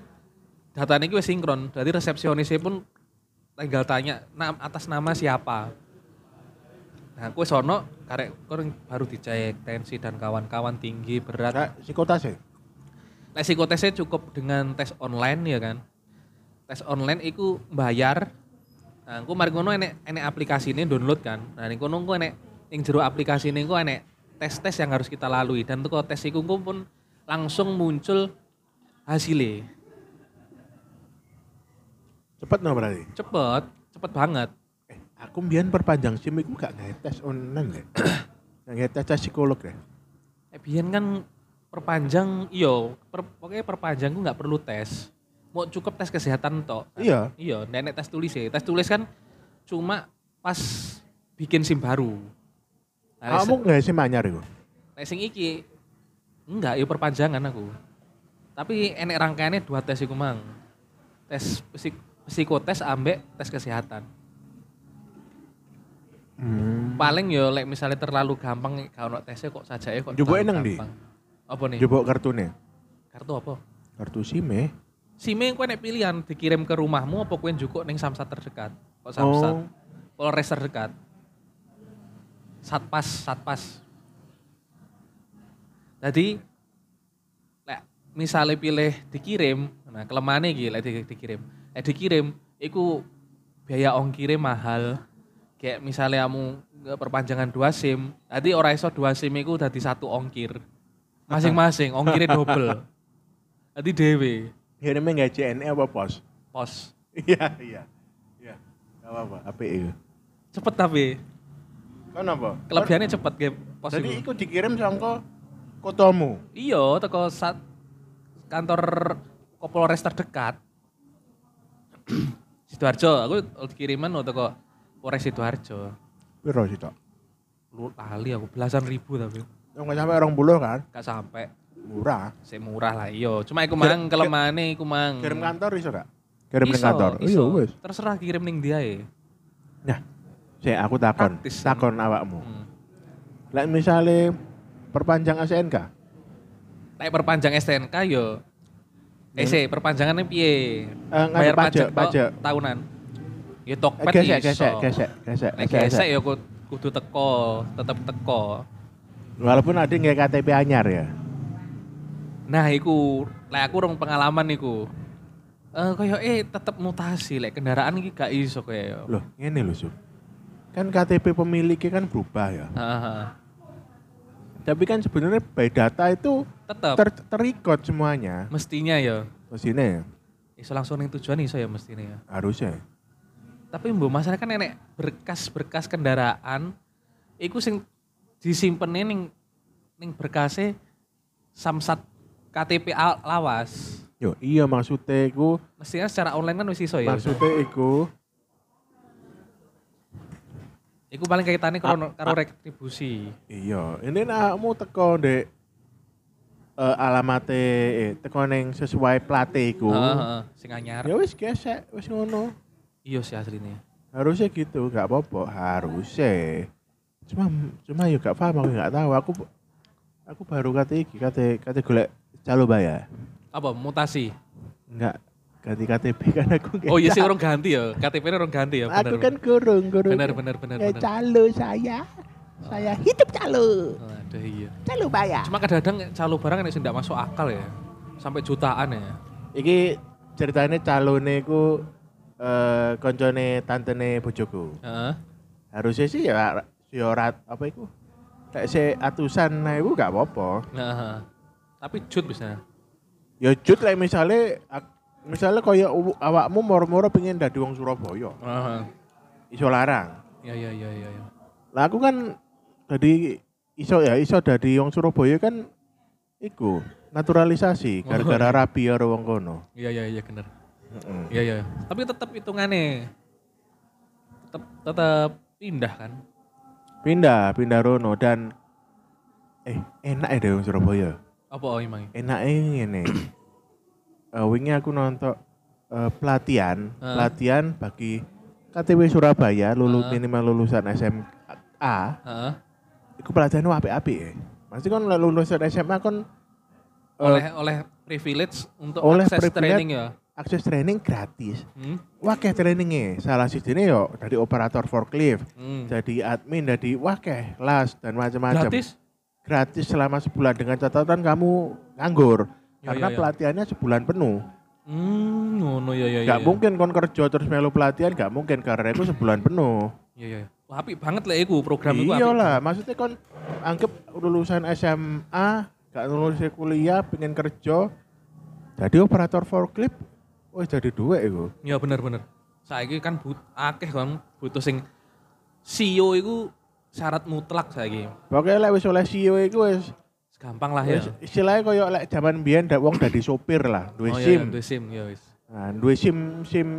Speaker 1: datanya gue sinkron jadi resepsionisnya pun tinggal tanya "Nam- atas nama siapa Nah, gue sono karek gue baru dicek tensi dan kawan-kawan tinggi berat.
Speaker 2: Nah, psikotase.
Speaker 1: Nah, psikotesnya cukup dengan tes online ya kan. Tes online itu bayar. Nah, aku mari ngono enek enek aplikasi ini download kan. Nah, ning kono engko enek ning jero aplikasi ini engko enek tes-tes yang harus kita lalui dan teko tes iku engko pun langsung muncul hasilnya.
Speaker 2: Cepet no berarti.
Speaker 1: Cepet, cepet banget.
Speaker 2: Eh, aku mbiyen perpanjang SIM iku gak ngetes online deh. Nggak ngetes tes psikolog deh.
Speaker 1: Eh, biyen kan perpanjang iyo, per, pokoknya perpanjang gue nggak perlu tes. Mau cukup tes kesehatan tok.
Speaker 2: Iya.
Speaker 1: Iya, nenek tes tulis ya. Tes tulis kan cuma pas bikin SIM baru. Nah,
Speaker 2: Kamu nggak SIM anyar iku?
Speaker 1: nek sing iki enggak, ya perpanjangan aku. Tapi enek rangkaiannya dua tes iku mang. Tes psik- psikotes ambek tes kesehatan.
Speaker 2: Hmm.
Speaker 1: Paling yo lek misalnya terlalu gampang gak ono tesnya kok sajake kok.
Speaker 2: Jupuk
Speaker 1: terlalu
Speaker 2: nang ndi?
Speaker 1: gampang. Apa nih?
Speaker 2: Jebok kartunya.
Speaker 1: Kartu apa?
Speaker 2: Kartu SIM eh.
Speaker 1: SIM-e kowe nek pilihan dikirim ke rumahmu apa kowe njukuk ning samsat terdekat? Kok samsat?
Speaker 2: Oh.
Speaker 1: Polres terdekat. Satpas, satpas. Jadi lek misalnya pilih dikirim, nah kelemahannya iki lek di- dikirim. Lek dikirim iku biaya ongkirnya mahal. Kayak misalnya kamu nggak perpanjangan dua SIM, tadi ora iso dua SIM iku dadi satu ongkir. Masing-masing ongkirnya double. Tadi dewe
Speaker 2: Ini mah nggak JNE E apa pos?
Speaker 1: pos.
Speaker 2: Iya, iya. Iya. Gak apa-apa. Apa itu?
Speaker 1: Cepet tapi
Speaker 2: Kan apa?
Speaker 1: kelebihannya cepet game pos
Speaker 2: Jadi
Speaker 1: iku.
Speaker 2: itu dikirim sangko kotomu.
Speaker 1: Iya, teko sat kantor Kapolres terdekat. Sidoarjo, aku kiriman no teko Polres Sidoarjo.
Speaker 2: Piro sih tok?
Speaker 1: Lu lali aku belasan ribu tapi
Speaker 2: Yang nggak sampai orang buluh kan?
Speaker 1: gak sampai
Speaker 2: Murah.
Speaker 1: sih murah lah iya cuma iku
Speaker 2: Kir-
Speaker 1: mang
Speaker 2: kir-
Speaker 1: kelemane iku mang
Speaker 2: Kirim kantor iso gak? Hmm. Kirim ke
Speaker 1: Iso,
Speaker 2: kantor.
Speaker 1: iso.
Speaker 2: Iya wes.
Speaker 1: terserah kirim ning dia ya
Speaker 2: Nah, saya aku takon,
Speaker 1: Praktis.
Speaker 2: takon awakmu.
Speaker 1: hmm.
Speaker 2: Lek misale perpanjang SNK,
Speaker 1: Lek perpanjang STNK yo eh sih perpanjangannya piye
Speaker 2: Iya. Eh, nganu
Speaker 1: bayar
Speaker 2: pajak,
Speaker 1: pajak, tok,
Speaker 2: pajak.
Speaker 1: tahunan ya
Speaker 2: Eh,
Speaker 1: tokpet
Speaker 2: gesek,
Speaker 1: iso.
Speaker 2: gesek, gesek, gesek,
Speaker 1: Nek
Speaker 2: gesek,
Speaker 1: gesek
Speaker 2: gesek.
Speaker 1: ya ku- kudu teko, tetep teko.
Speaker 2: Walaupun ada nggak KTP anyar ya.
Speaker 1: Nah, iku lek aku rong pengalaman iku. Eh koyo eh tetep mutasi lek kendaraan iki gak iso koyo.
Speaker 2: Loh, ngene lho, Sup. Kan KTP pemiliknya kan berubah ya.
Speaker 1: Heeh.
Speaker 2: Tapi kan sebenarnya by data itu
Speaker 1: Tetep
Speaker 2: ter terikot semuanya.
Speaker 1: mestinya ya.
Speaker 2: Mesinnya ya,
Speaker 1: Iso langsung ning tujuan iso ya mestinya ya.
Speaker 2: harusnya.
Speaker 1: Tapi mbok masalah kan enek berkas-berkas kendaraan iku sing disimpen ning ning berkase samsat KTP al- lawas.
Speaker 2: Yo, iya maksudnya iku,
Speaker 1: Oh, iya. Mestinya secara online kan wis iso ya.
Speaker 2: maksudnya iku
Speaker 1: Iku paling kaitannya karo, karo retribusi.
Speaker 2: Iya, ini nakmu teko ndek eh, alamate eh, teko ning sesuai plate iku.
Speaker 1: Heeh, heeh, sing anyar.
Speaker 2: Ya wis gesek, wis ngono.
Speaker 1: Iya sih aslinya.
Speaker 2: Harusnya gitu, gak apa-apa, harusnya. Cuma cuma yo gak paham aku gak tahu. Aku aku baru kate iki, kate kate golek calo bayar.
Speaker 1: Apa mutasi?
Speaker 2: Enggak ganti KTP kan aku gak
Speaker 1: Oh iya sih
Speaker 2: tahu.
Speaker 1: orang ganti ya. KTP-nya orang ganti ya.
Speaker 2: Aku
Speaker 1: Bener.
Speaker 2: kan kurung, kurung.
Speaker 1: bener bener bener.
Speaker 2: Eh,
Speaker 1: bener.
Speaker 2: calo saya. Saya hidup calo.
Speaker 1: Aduh iya.
Speaker 2: Calo bayar.
Speaker 1: Cuma kadang-kadang calo barang nek sing ndak masuk akal ya. Sampai jutaan ya.
Speaker 2: Iki ceritanya calone ku eh koncone tantene bojoku.
Speaker 1: Heeh.
Speaker 2: Harusnya sih ya si ora apa iku? Kayak se atusan nah iku gak apa-apa.
Speaker 1: Nah, heeh. tapi jut bisa.
Speaker 2: Ya jut lah misalnya ak- misalnya koyo u- awakmu moro-moro pengen dadi wong Surabaya,
Speaker 1: Heeh.
Speaker 2: iso larang.
Speaker 1: Ya ya ya ya ya.
Speaker 2: Lah aku kan tadi iso ya iso dadi wong Surabaya kan iku naturalisasi gara-gara rapi karo wong kono.
Speaker 1: Iya iya iya bener.
Speaker 2: Heeh.
Speaker 1: Iya iya. Tapi tetap hitungannya tetap tetap pindah kan.
Speaker 2: Pindah, pindah rono dan eh enak ya deh wong Surabaya.
Speaker 1: Apa oh emang?
Speaker 2: enaknya ngene. Eh, wingi aku nonton eh, pelatihan,
Speaker 1: Heeh.
Speaker 2: pelatihan bagi KTW Surabaya lulu
Speaker 1: Heeh.
Speaker 2: minimal lulusan SMA.
Speaker 1: Heeh.
Speaker 2: Iku pelatihan apik-apik ya. Mesti kon lek lulusan SMA kon kan, eh,
Speaker 1: Oleh oleh privilege untuk
Speaker 2: oleh
Speaker 1: akses
Speaker 2: privilege.
Speaker 1: training ya.
Speaker 2: akses training gratis.
Speaker 1: Hmm.
Speaker 2: Wakeh trainingnya, salah sijine yo dari operator forklift,
Speaker 1: Hmm.
Speaker 2: jadi admin, jadi wakeh las dan macam-macam.
Speaker 1: Gratis?
Speaker 2: Gratis selama sebulan dengan catatan kamu nganggur.
Speaker 1: Ya, ya,
Speaker 2: karena
Speaker 1: ya.
Speaker 2: pelatihannya sebulan penuh.
Speaker 1: Hmm, ngono ya ya ya.
Speaker 2: Gak mungkin kon kerja terus melu pelatihan, gak mungkin karena itu sebulan penuh.
Speaker 1: Iya iya. Wah, apik banget lah iku program iku.
Speaker 2: Iya
Speaker 1: apik.
Speaker 2: lah, maksudnya kon anggap lulusan SMA, gak lulus kuliah, pengen kerja, jadi operator forklift, wih jadi dua itu.
Speaker 1: Ya bener bener. Saiki kan but, akeh kan butuh sing CEO iku syarat mutlak saiki.
Speaker 2: Pokoknya lah wis oleh CEO itu wis,
Speaker 1: Gampang lah ya.
Speaker 2: wis istilahnya koyo lek zaman biyen dak wong dadi sopir lah, duwe
Speaker 1: Oh, iya,
Speaker 2: SIM.
Speaker 1: iya, duwe SIM ya wis.
Speaker 2: Nah, duwe SIM SIM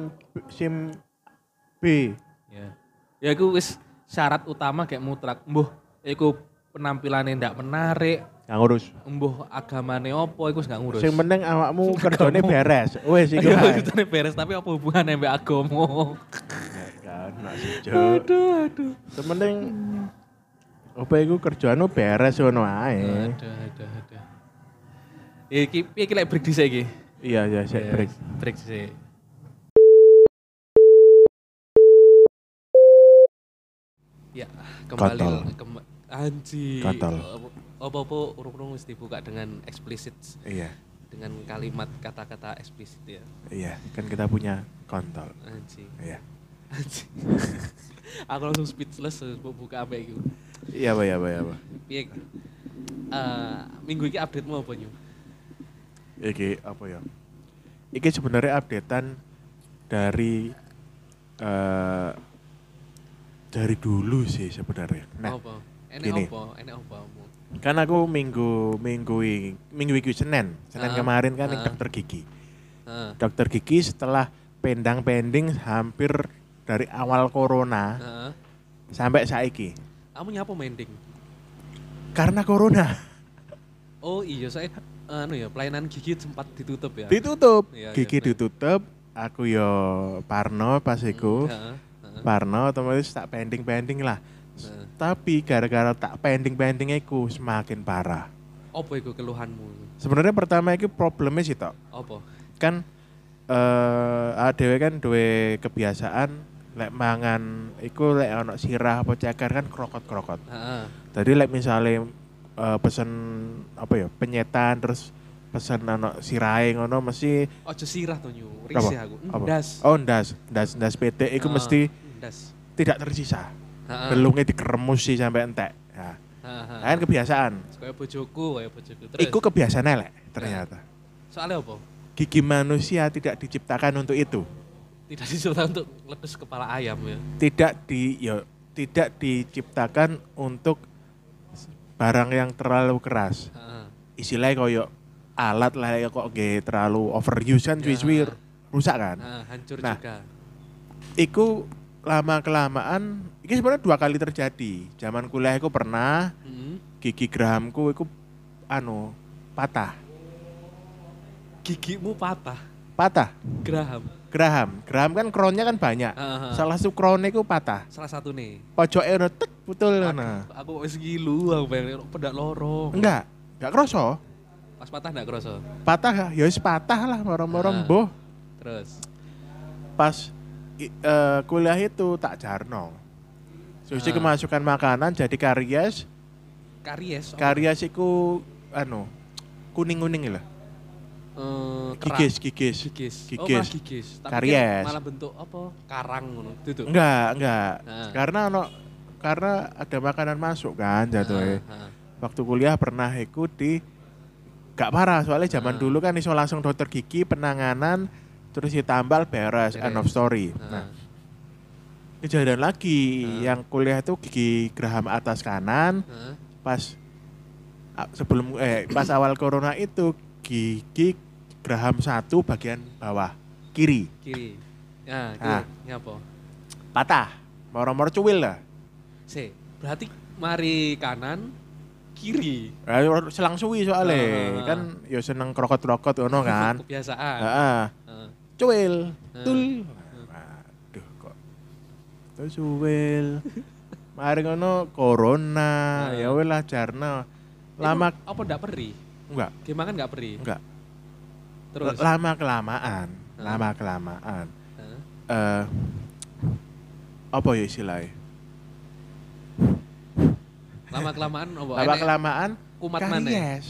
Speaker 2: SIM B.
Speaker 1: Ya. Ya iku wis syarat utama kayak mutlak. Mbuh, iku penampilannya ndak menarik,
Speaker 2: Gak ngurus.
Speaker 1: mbuh agamane opo iku wis gak ngurus.
Speaker 2: Sing penting awakmu kerjane beres. Wis iku.
Speaker 1: Iya,
Speaker 2: kan. Nah, ae.
Speaker 1: urusannya beres tapi apa hubungannya mbak agomo?
Speaker 2: Gak ono sih, kan, Cuk.
Speaker 1: Aduh, aduh.
Speaker 2: Sementing apa iku kerjaanmu beres ngono ae.
Speaker 1: Aduh, aduh, aduh. Iki iki lek break dhisik iki.
Speaker 2: Iya iya sik
Speaker 1: Ya,
Speaker 2: break.
Speaker 1: Break dhisik. Ya, kembali
Speaker 2: Kontol.
Speaker 1: kemba- anji.
Speaker 2: Kontol.
Speaker 1: Apa-apa urung-urung mesti dibuka dengan eksplisit
Speaker 2: Iya.
Speaker 1: dengan kalimat kata-kata eksplisit ya.
Speaker 2: Iya, kan kita punya kontol.
Speaker 1: Anji.
Speaker 2: Iya.
Speaker 1: Anji. Aku langsung speechless bu- buka apa itu.
Speaker 2: Iya, Pak, iya, Pak, iya, Pak.
Speaker 1: Piye? Eh, minggu ini update mau apa nyu?
Speaker 2: Iki apa ya? Iki sebenarnya updatean dari eh dari dulu sih sebenarnya. Nah,
Speaker 1: apa?
Speaker 2: gini.
Speaker 1: Enak apa? Enak apa? Mu?
Speaker 2: kan aku minggu minggu i- minggu iki Senin, Senin
Speaker 1: Ah,
Speaker 2: kemarin kan ning
Speaker 1: ah.
Speaker 2: dokter gigi.
Speaker 1: Heeh.
Speaker 2: Dokter gigi setelah pendang-pending hampir dari awal corona
Speaker 1: Heeh.
Speaker 2: sampai saiki.
Speaker 1: Kamu nyapa mending?
Speaker 2: Karena corona
Speaker 1: Oh iya saya anu ya pelayanan gigi sempat ditutup ya.
Speaker 2: ditutup,
Speaker 1: Iya, iya,
Speaker 2: gigi
Speaker 1: bener.
Speaker 2: ditutup, aku yo parno pas iku.
Speaker 1: Heeh, heeh.
Speaker 2: Parno otomatis tak pending-pending lah. S-
Speaker 1: Heeh.
Speaker 2: Tapi gara-gara tak pending-pending iku semakin parah.
Speaker 1: Apa itu keluhanmu?
Speaker 2: Sebenarnya pertama iku problemnya sih tok.
Speaker 1: Apa?
Speaker 2: Kan eh adewe kan duwe kebiasaan lek mangan iku lek ono sirah apa ceker kan krokot-krokot.
Speaker 1: Heeh.
Speaker 2: Jadi like misalnya eh, pesen apa ya penyetan terus pesen anak sirai ngono mesti
Speaker 1: Ojo sirah tuh nyu,
Speaker 2: apa?
Speaker 1: risih aku.
Speaker 2: Apa?
Speaker 1: Ndas.
Speaker 2: Oh ndas, ndas ndas PT
Speaker 1: Ah,
Speaker 2: itu mesti
Speaker 1: ndas.
Speaker 2: tidak tersisa.
Speaker 1: Heeh.
Speaker 2: Belungnya dikeremusi sampai entek.
Speaker 1: Heeh,
Speaker 2: Nah,
Speaker 1: heeh.
Speaker 2: kan kebiasaan.
Speaker 1: Kayak bojoku, kayak bojoku. Ah. Terus
Speaker 2: Iku kebiasaan elek ternyata.
Speaker 1: soalnya apa?
Speaker 2: Gigi manusia tidak diciptakan untuk itu.
Speaker 1: Tidak disuruh untuk letus kepala ayam ya.
Speaker 2: Tidak di ya, tidak diciptakan untuk barang yang terlalu keras.
Speaker 1: Heeh.
Speaker 2: Istilahnya koyok alat lah ya kok nggih terlalu overuse kan
Speaker 1: Ya.
Speaker 2: cuci rusak kan.
Speaker 1: Heeh, hancur
Speaker 2: Nah.
Speaker 1: juga.
Speaker 2: Iku lama kelamaan Ini sebenarnya dua kali terjadi. Zaman kuliah aku pernah
Speaker 1: Hmm.
Speaker 2: gigi gerahamku itu anu patah.
Speaker 1: Gigimu patah,
Speaker 2: Patah.
Speaker 1: Graham.
Speaker 2: Geraham. Geraham kan kronnya kan banyak.
Speaker 1: Heeh.
Speaker 2: Salah satu kronnya itu patah.
Speaker 1: Salah satu nih.
Speaker 2: Pojoknya udah tek putul nah.
Speaker 1: Aku wis ngilu, aku pengen pedak loro.
Speaker 2: Enggak, enggak kroso.
Speaker 1: Pas patah enggak kerasa.
Speaker 2: Patah ya wis patah lah moro-moro
Speaker 1: Ah.
Speaker 2: mbuh.
Speaker 1: Terus.
Speaker 2: Pas i- eh, kuliah itu tak jarno. Susi
Speaker 1: Ah.
Speaker 2: kemasukan makanan jadi karies.
Speaker 1: Karies. apa?
Speaker 2: Karies itu anu kuning-kuning lah.
Speaker 1: Eh, kerak.
Speaker 2: Kikis, kikis.
Speaker 1: Gigis. Oh,
Speaker 2: Gigis.
Speaker 1: malah gigis. Tak
Speaker 2: Karies. Hmm.
Speaker 1: pikir Malah bentuk apa? Karang ngono. Itu.
Speaker 2: Enggak, enggak.
Speaker 1: Ah.
Speaker 2: Karena ono karena ada makanan masuk kan jatuhnya.
Speaker 1: Heeh.
Speaker 2: Waktu kuliah pernah ikut di gak parah soalnya
Speaker 1: Ah.
Speaker 2: zaman dulu kan iso langsung dokter gigi penanganan terus ditambal
Speaker 1: Beres.
Speaker 2: beres, end of story.
Speaker 1: Heeh.
Speaker 2: Nah, kejadian lagi
Speaker 1: Ah.
Speaker 2: yang kuliah itu gigi geraham atas kanan
Speaker 1: Heeh.
Speaker 2: pas a- sebelum eh pas awal corona itu gigi geraham satu bagian bawah kiri
Speaker 1: Kiri. Nah, itu
Speaker 2: Ah.
Speaker 1: nyapa?
Speaker 2: patah moro-moro cuwil lah
Speaker 1: C. Berarti mari kanan, kiri.
Speaker 2: Eh, selang suwi soalnya
Speaker 1: Ah.
Speaker 2: kan yo seneng krokot-krokot ono kan
Speaker 1: Kebiasaan.
Speaker 2: Heeh.
Speaker 1: Heeh.
Speaker 2: cuwil
Speaker 1: Ah.
Speaker 2: tul aduh kok terus cuwil mari ngono
Speaker 1: Ah.
Speaker 2: corona ya wis lah jarno lama
Speaker 1: Itu apa ndak perih?
Speaker 2: enggak
Speaker 1: Gimana nggak perih?
Speaker 2: enggak
Speaker 1: Terus.
Speaker 2: lama kelamaan
Speaker 1: Ah.
Speaker 2: lama kelamaan
Speaker 1: Heeh.
Speaker 2: eh apa ya istilahnya
Speaker 1: Lama kelamaan apa?
Speaker 2: lama
Speaker 1: Enek
Speaker 2: kelamaan
Speaker 1: kumat mana? ya?
Speaker 2: karies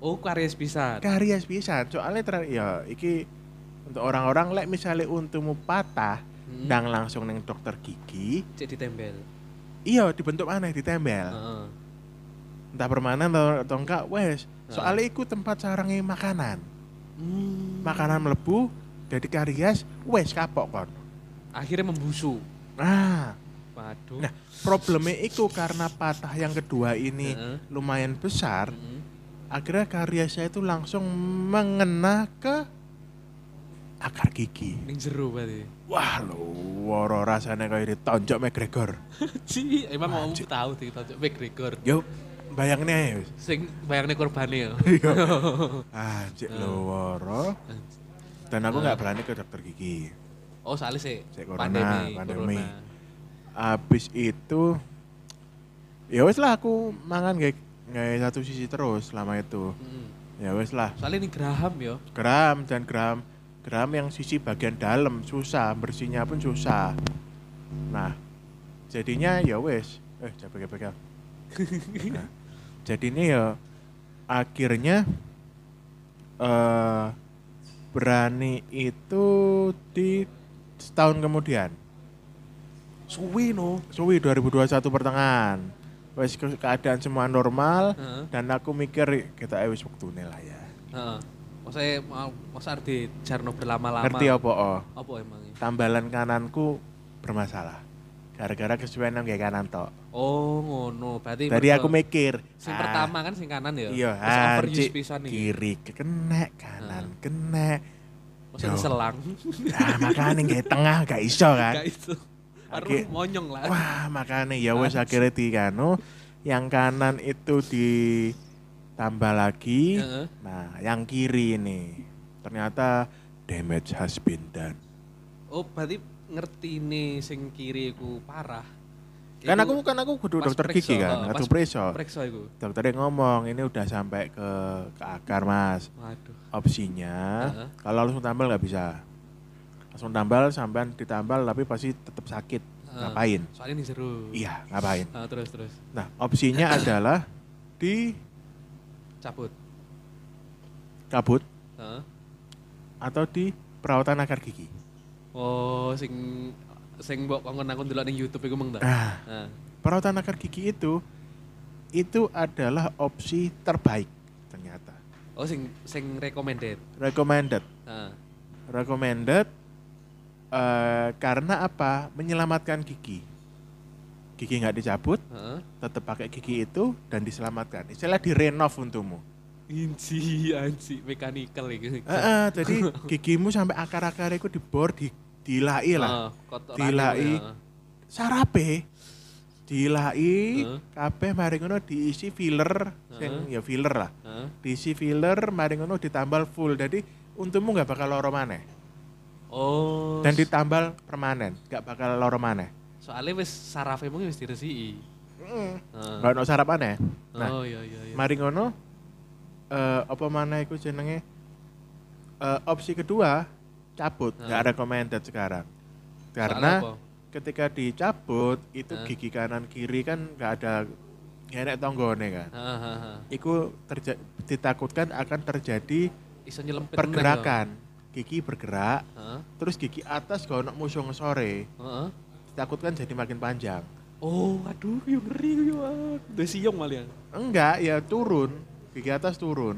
Speaker 1: Oh, karies bisa.
Speaker 2: karies bisa soalnya ter ya iki untuk orang-orang lek misalnya untumu patah
Speaker 1: Hmm.
Speaker 2: ndang langsung neng dokter gigi
Speaker 1: Cek ditembel.
Speaker 2: iya dibentuk aneh ditembel
Speaker 1: Heeh. Hmm.
Speaker 2: entah permanen atau, atau enggak wes soalnya iku tempat sarangnya makanan
Speaker 1: Hmm.
Speaker 2: makanan melebu jadi karies wes kapok kon
Speaker 1: Akhirnya membusu.
Speaker 2: nah
Speaker 1: Waduh.
Speaker 2: Nah, problemnya itu karena patah yang kedua ini
Speaker 1: Heeh.
Speaker 2: lumayan besar
Speaker 1: Heeh.
Speaker 2: akhirnya kariesnya itu langsung mengena ke akar gigi
Speaker 1: Ning jero berarti.
Speaker 2: wah lo woro rasanya kayak ditonjok McGregor
Speaker 1: Ci, emang mau
Speaker 2: Wajib.
Speaker 1: tahu ditonjok McGregor.
Speaker 2: yuk bayangin aja wis.
Speaker 1: Sing bayangne korbane ya.
Speaker 2: Iya.
Speaker 1: Oh.
Speaker 2: ah cek lo woro dan aku nggak berani ke dokter gigi
Speaker 1: Oh, soalnya sih
Speaker 2: Sik, corona,
Speaker 1: pandemi,
Speaker 2: pandemi.
Speaker 1: corona.
Speaker 2: abis itu ya wes lah aku mangan kayak kayak satu sisi terus selama itu
Speaker 1: Heeh.
Speaker 2: ya wes lah
Speaker 1: Hmm. Soalnya ini Graham ya.
Speaker 2: geram dan geram geram yang sisi bagian dalam susah bersihnya pun susah nah jadinya ya wes eh capek pegang nah, jadinya ya akhirnya eh berani itu di setahun kemudian
Speaker 1: Suwi no.
Speaker 2: suwi 2021 pertengahan wes ke- keadaan semua normal
Speaker 1: Heeh.
Speaker 2: dan aku mikir kita eh, wis waktu lah ya
Speaker 1: Heeh. Maksudnya, mau- maksudnya arti jarno berlama-lama.
Speaker 2: ngerti apa oh
Speaker 1: Apa emangnya?
Speaker 2: tambalan kananku bermasalah gara-gara kesuwen nang nggih kanan tok.
Speaker 1: Oh, ngono. Berarti
Speaker 2: Tadi
Speaker 1: mergo-
Speaker 2: aku mikir,
Speaker 1: Sing
Speaker 2: ah,
Speaker 1: pertama kan sing kanan ya.
Speaker 2: iya,
Speaker 1: Terus
Speaker 2: ah,
Speaker 1: overuse
Speaker 2: cik,
Speaker 1: pisan iki. Ah.
Speaker 2: kiri kena, kanan kena.
Speaker 1: Mesti
Speaker 2: Yo.
Speaker 1: diselang.
Speaker 2: Nah, makane nggih tengah gak iso
Speaker 1: Gak
Speaker 2: kan.
Speaker 1: itu. Harus
Speaker 2: Oke.
Speaker 1: monyong lah.
Speaker 2: Wah, makane ya wis
Speaker 1: Ah.
Speaker 2: akhirnya di kanu yang kanan itu ditambah lagi.
Speaker 1: Heeh.
Speaker 2: Nah, yang kiri ini ternyata damage has been done.
Speaker 1: Oh, berarti ngerti nih sing kiri ku parah.
Speaker 2: Kan
Speaker 1: Iku
Speaker 2: aku kan aku kudu
Speaker 1: pas
Speaker 2: dokter gigi
Speaker 1: periksa,
Speaker 2: kan,
Speaker 1: pas
Speaker 2: kudu preso.
Speaker 1: Periksa iku.
Speaker 2: Dokternya ngomong ini udah sampai ke ke akar, Mas.
Speaker 1: Waduh.
Speaker 2: opsinya
Speaker 1: Heeh.
Speaker 2: kalau langsung tambal nggak bisa langsung tambal sampean ditambal tapi pasti tetap sakit
Speaker 1: Heeh.
Speaker 2: ngapain
Speaker 1: Soalnya ini seru.
Speaker 2: iya ngapain
Speaker 1: Ah, terus terus
Speaker 2: nah opsinya adalah di
Speaker 1: cabut.
Speaker 2: kabut
Speaker 1: Heeh.
Speaker 2: atau di perawatan akar gigi
Speaker 1: Oh, sing sing mbok ngangkon-ngangkon delok ning YouTube iku meng ta.
Speaker 2: nah
Speaker 1: Nah,
Speaker 2: perawatan akar gigi itu itu adalah opsi terbaik ternyata
Speaker 1: oh sing sing recommended.
Speaker 2: recommended
Speaker 1: Nah,
Speaker 2: recommended eh, karena apa menyelamatkan gigi gigi nggak dicabut
Speaker 1: heeh.
Speaker 2: tetap pakai gigi itu dan diselamatkan. Istilah direnov untukmu.
Speaker 1: Inci, anci, mekanikal iki.
Speaker 2: Eh, eh, jadi gigimu sampai akar-akar itu dibor, di, dilai iya lah. iya.
Speaker 1: Heeh, kotoran
Speaker 2: Dilai.
Speaker 1: iku ya.
Speaker 2: sarape dilai
Speaker 1: Heeh.
Speaker 2: kabeh mari ngono diisi filler sing ya filler lah
Speaker 1: Heeh.
Speaker 2: diisi filler mari ngono ditambal full jadi untungmu nggak bakal loro maneh
Speaker 1: Oh.
Speaker 2: dan ditambal permanen nggak bakal loro maneh
Speaker 1: soalnya wis sarafe mungkin wis diresiki. Heeh.
Speaker 2: nggak ono sarap aneh nah
Speaker 1: oh iya iya iya.
Speaker 2: mari ngono eh, apa mana iku jenenge Eh, opsi kedua cabut nggak
Speaker 1: Heeh.
Speaker 2: recommended sekarang
Speaker 1: Soalnya
Speaker 2: karena
Speaker 1: apa?
Speaker 2: ketika dicabut itu
Speaker 1: Heeh.
Speaker 2: gigi kanan kiri kan nggak ada ngerek tonggone kan
Speaker 1: Heeh, heeh, heeh.
Speaker 2: itu terja- ditakutkan akan terjadi
Speaker 1: Iso nyelempit meneh,
Speaker 2: pergerakan gigi bergerak
Speaker 1: toh. Heeh.
Speaker 2: terus gigi atas gak ono musuh sore
Speaker 1: Heeh.
Speaker 2: ditakutkan jadi makin panjang
Speaker 1: Oh, aduh, yo ngeri yo. Udah siung malah.
Speaker 2: enggak ya turun gigi atas turun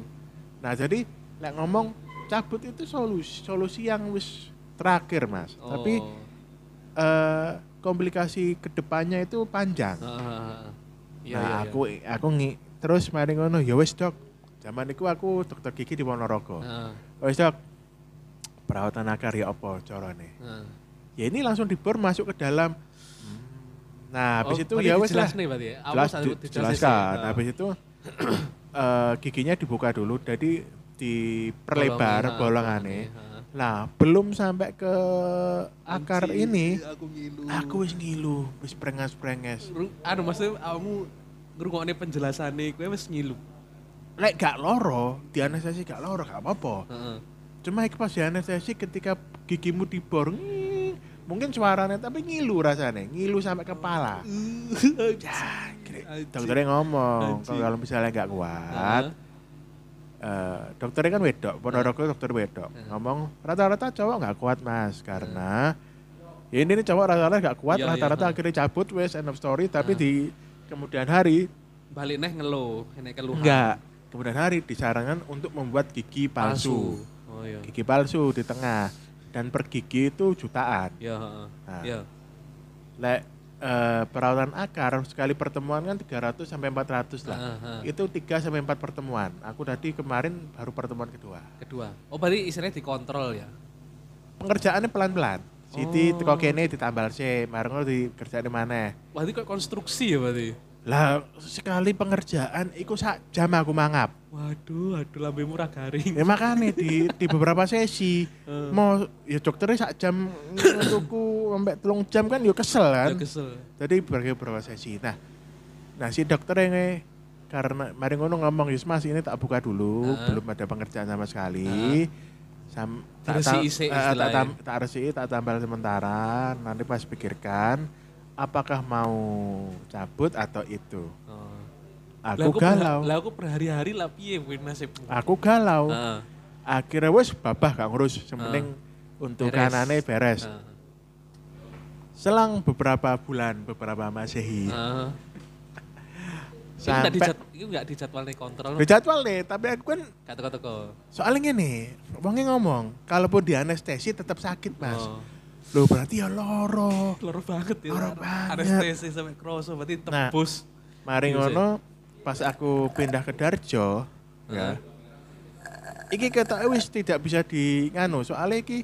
Speaker 2: nah jadi lek ngomong cabut itu solusi solusi yang wis terakhir mas
Speaker 1: Oh.
Speaker 2: tapi eh, komplikasi kedepannya itu panjang
Speaker 1: Heeh, heeh, heeh. Iya,
Speaker 2: nah
Speaker 1: iya, iya.
Speaker 2: aku aku ngi terus mari ngono ya wis dok zaman itu aku dokter gigi di Ponorogo "Ya
Speaker 1: Heeh,
Speaker 2: wis dok perawatan akar ya apa carane
Speaker 1: heeh.
Speaker 2: ya ini langsung dibor masuk ke dalam nah habis
Speaker 1: Hmm. Oh,
Speaker 2: itu
Speaker 1: berarti
Speaker 2: ya wis lah
Speaker 1: dijelasne berarti ya? Awas,
Speaker 2: jelas
Speaker 1: aku
Speaker 2: di-
Speaker 1: dijelasin sih.
Speaker 2: dijelaskan
Speaker 1: Heeh.
Speaker 2: habis itu eh, giginya dibuka dulu jadi diperlebar
Speaker 1: Bolongan,
Speaker 2: bolongannya
Speaker 1: heeh.
Speaker 2: nah belum sampai ke akar
Speaker 1: Anjing,
Speaker 2: ini
Speaker 1: aku ngilu.
Speaker 2: aku wis ngilu wis prengas prenges
Speaker 1: Ru- anu maksudnya kamu ngrungokne penjelasane kowe wis ngilu.
Speaker 2: lek gak loro di anestesi gak loro gak apa-apa
Speaker 1: Heeh.
Speaker 2: cuma iki pas di anestesi ketika gigimu dibor nging, mungkin suaranya tapi ngilu rasanya ngilu sampai kepala Ah, gini.
Speaker 1: Anjing.
Speaker 2: dokternya ngomong
Speaker 1: Anjing.
Speaker 2: kalau misalnya nggak kuat eh, dokternya kan wedok ponorogo dokter wedok
Speaker 1: Heeh.
Speaker 2: ngomong rata-rata cowok nggak kuat mas karena ya ini nih cowok rata-rata nggak kuat
Speaker 1: Iya, iya,
Speaker 2: rata-rata
Speaker 1: heeh.
Speaker 2: akhirnya cabut wes end of story tapi
Speaker 1: Heeh.
Speaker 2: di kemudian hari
Speaker 1: Balik neh ngeluh, enek keluhan.
Speaker 2: enggak kemudian hari disarankan untuk membuat gigi palsu,
Speaker 1: Oh iya.
Speaker 2: gigi palsu di tengah dan per gigi itu jutaan
Speaker 1: Ya, heeh.
Speaker 2: Nah.
Speaker 1: Ya.
Speaker 2: lek eh, perawatan akar sekali pertemuan kan 300 sampai 400 lah
Speaker 1: Heeh, heeh.
Speaker 2: itu 3 sampai 4 pertemuan. Aku tadi kemarin baru pertemuan kedua.
Speaker 1: Kedua. Oh, berarti istilahnya dikontrol ya.
Speaker 2: Pengerjaannya pelan-pelan. Siti
Speaker 1: Oh.
Speaker 2: teko kene ditambal C, marno dikerjain mana.
Speaker 1: Berarti kok konstruksi ya berarti.
Speaker 2: Lah sekali pengerjaan iku sak jam aku mangap.
Speaker 1: Waduh, aduh lambe murah garing.
Speaker 2: Ya makanya di, di beberapa sesi
Speaker 1: Hmm.
Speaker 2: mau ya dokternya sak jam untukku sampai telung jam kan yo kesel
Speaker 1: Ya
Speaker 2: kan.
Speaker 1: kesel.
Speaker 2: Jadi berbagai beberapa sesi. Nah, nah si dokter yang karena mari ngono ngomong Yus Mas ini tak buka dulu,
Speaker 1: Heeh.
Speaker 2: belum ada pengerjaan sama sekali. Sam, tak,
Speaker 1: Diresi
Speaker 2: tam-
Speaker 1: isi
Speaker 2: eh, tak,
Speaker 1: istilahnya.
Speaker 2: tam- tak resi, tak tambal sementara. Nanti pas pikirkan apakah mau cabut atau itu.
Speaker 1: Oh. Lah,
Speaker 2: Aku
Speaker 1: perha-
Speaker 2: galau.
Speaker 1: Lah aku berhari-hari lah piye kuwi nasibku.
Speaker 2: Aku galau.
Speaker 1: Heeh.
Speaker 2: Akhirnya wes babah gak ngurus,
Speaker 1: Heeh.
Speaker 2: yang penting untuk
Speaker 1: Beres.
Speaker 2: kanane beres.
Speaker 1: Heeh.
Speaker 2: Selang beberapa bulan, beberapa masehi.
Speaker 1: Heeh. Itu nggak
Speaker 2: Sampai
Speaker 1: dijad- itu enggak dijadwalne kontrol.
Speaker 2: dijadwal nih, tapi aku kan
Speaker 1: Kata-kata
Speaker 2: Soalnya gini, wongnya ngomong, kalaupun di anestesi tetap sakit mas.
Speaker 1: Oh.
Speaker 2: Loh berarti ya loro.
Speaker 1: Loro banget ya.
Speaker 2: Loro banget.
Speaker 1: Anestesi sampai kroso berarti
Speaker 2: Nah.
Speaker 1: tembus.
Speaker 2: Mari
Speaker 1: Iya,
Speaker 2: ngono, pas aku pindah ke Darjo, ya.
Speaker 1: Heeh.
Speaker 2: Iki kata wis tidak bisa di nganu, soalnya iki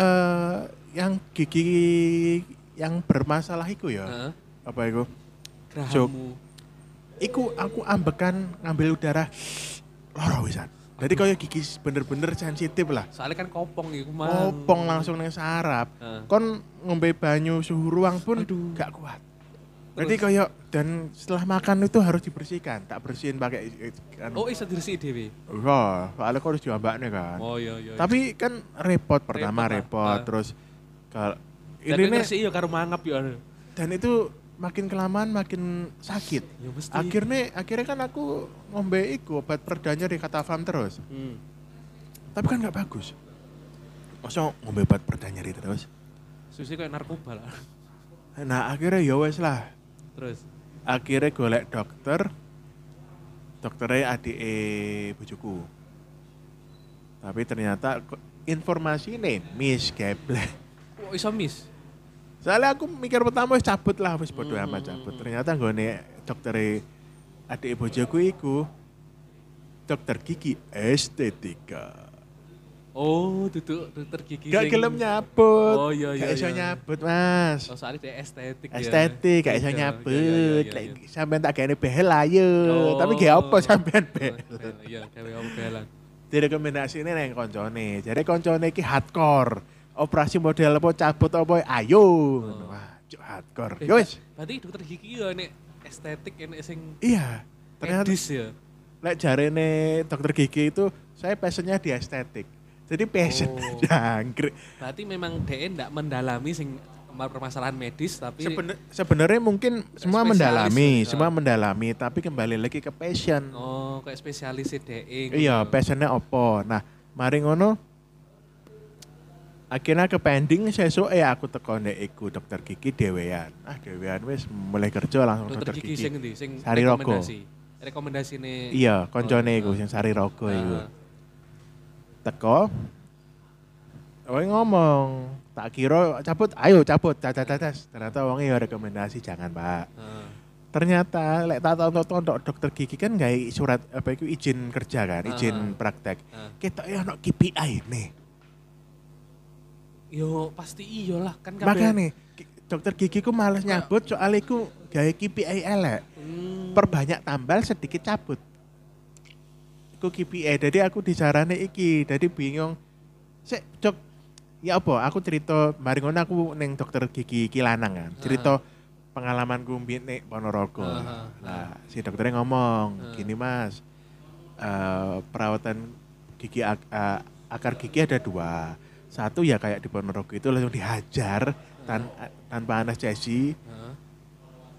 Speaker 2: eh yang gigi yang bermasalah iku ya.
Speaker 1: Heeh.
Speaker 2: Apa iku?
Speaker 1: Gerahamu.
Speaker 2: Iku aku ambekan ngambil udara loro wisan. Jadi kaya gigi bener-bener sensitif lah.
Speaker 1: Soalnya kan kopong iku mah.
Speaker 2: Kopong langsung nang sarap.
Speaker 1: Heeh.
Speaker 2: kon ngombe banyu suhu ruang pun
Speaker 1: Aduh.
Speaker 2: gak kuat.
Speaker 1: Terus?
Speaker 2: Jadi koyo dan setelah makan itu harus dibersihkan, tak bersihin pakai eh,
Speaker 1: Oh,
Speaker 2: anu.
Speaker 1: iso diresiki dhewe.
Speaker 2: Wah, soalnya kok harus diambakne kan.
Speaker 1: Oh iya iya.
Speaker 2: Tapi kan repot pertama
Speaker 1: Repot lah. Ah.
Speaker 2: repot, terus kalau
Speaker 1: ini
Speaker 2: ini nih,
Speaker 1: resiki ya karo mangap ya.
Speaker 2: dan itu makin kelamaan makin sakit.
Speaker 1: Ya mesti.
Speaker 2: Akhirnya akhirnya kan aku ngombe iku obat perdanya di Katafam terus.
Speaker 1: Hmm.
Speaker 2: Tapi kan nggak bagus. Masa ngombe obat perdanya terus?
Speaker 1: Susi kayak narkoba lah.
Speaker 2: Nah, akhirnya ya wes lah.
Speaker 1: Terus.
Speaker 2: akhirnya golek dokter dokternya adik bojoku tapi ternyata ko- informasi nih miss geblek
Speaker 1: Oh, iso miss.
Speaker 2: soalnya aku mikir pertama wis cabut lah wis bodo
Speaker 1: Hmm.
Speaker 2: amat cabut ternyata gue dokternya adik bojoku iku dokter gigi estetika
Speaker 1: Oh, duduk dokter gigi.
Speaker 2: Gak
Speaker 1: sing-
Speaker 2: gelem nyabut.
Speaker 1: Oh, iya, iya,
Speaker 2: Gak iso
Speaker 1: iya.
Speaker 2: nyabut, Mas.
Speaker 1: Oh, soalnya dia estetik. ya.
Speaker 2: Estetik, gak iso
Speaker 1: Iya, iya,
Speaker 2: nyabut.
Speaker 1: iya, iya.
Speaker 2: Lek Sampean tak gaene behel ayo.
Speaker 1: Oh.
Speaker 2: Tapi gak apa sampean behel.
Speaker 1: Behel, Iya, gawe apa behelan.
Speaker 2: Direkomendasine nang koncone. Jadi koncone iki hardcore. Operasi model apa cabut apa ayo.
Speaker 1: Oh.
Speaker 2: Wah, cuk hardcore.
Speaker 1: Eh,
Speaker 2: Yo wis.
Speaker 1: Berarti dokter gigi ya ini estetik ini sing
Speaker 2: Iya. Ternyata
Speaker 1: medis ya.
Speaker 2: lek jarene dokter gigi itu saya passionnya di estetik. Jadi passion
Speaker 1: Oh.
Speaker 2: jangkrik.
Speaker 1: Berarti memang DE ndak mendalami sing permasalahan medis tapi
Speaker 2: Sebener- sebenarnya mungkin semua
Speaker 1: Spesialis
Speaker 2: mendalami,
Speaker 1: ya.
Speaker 2: semua mendalami, tapi kembali lagi ke passion.
Speaker 1: oh kayak spesialis DE. gitu.
Speaker 2: Iya, passionnya opo. Nah, mari ngono. Akhirnya ke pending sesuk eh aku teko nek iku dokter gigi dewean. Ah, dewean wis mulai kerja langsung
Speaker 1: dokter gigi sing endi sing
Speaker 2: Sari Rogo.
Speaker 1: rekomendasi. Rekomendasine
Speaker 2: Iya, koncone
Speaker 1: Oh,
Speaker 2: iku sing Sari Rogo
Speaker 1: Ah,
Speaker 2: iku. Teko. Wong ngomong, tak kira cabut, ayo cabut, cacat-cacat. Ternyata wongnya ya rekomendasi jangan, Pak.
Speaker 1: ah.
Speaker 2: ternyata lek tak tonton dokter gigi kan gak surat apa itu izin kerja kan izin
Speaker 1: Ah.
Speaker 2: praktek
Speaker 1: Ah.
Speaker 2: kita ya ono KPI nih
Speaker 1: Yo pasti iyalah kan kabeh-
Speaker 2: makanya ki- dokter gigi ku males nyabut soalnya ku gaya KPI elek
Speaker 1: Hmm.
Speaker 2: perbanyak tambal sedikit cabut ku KPI jadi aku disarane iki jadi bingung sik dok ya apa aku cerita mari ngono aku neng dokter gigi iki lanang kan cerita pengalamanku mbien nek Ponorogo
Speaker 1: Ah, ah,
Speaker 2: nah si dokternya
Speaker 1: Ah.
Speaker 2: ngomong gini mas eh, perawatan gigi ak- eh, akar gigi ada dua satu ya kayak di Ponorogo itu langsung dihajar tan- tanpa anestesi
Speaker 1: Ah,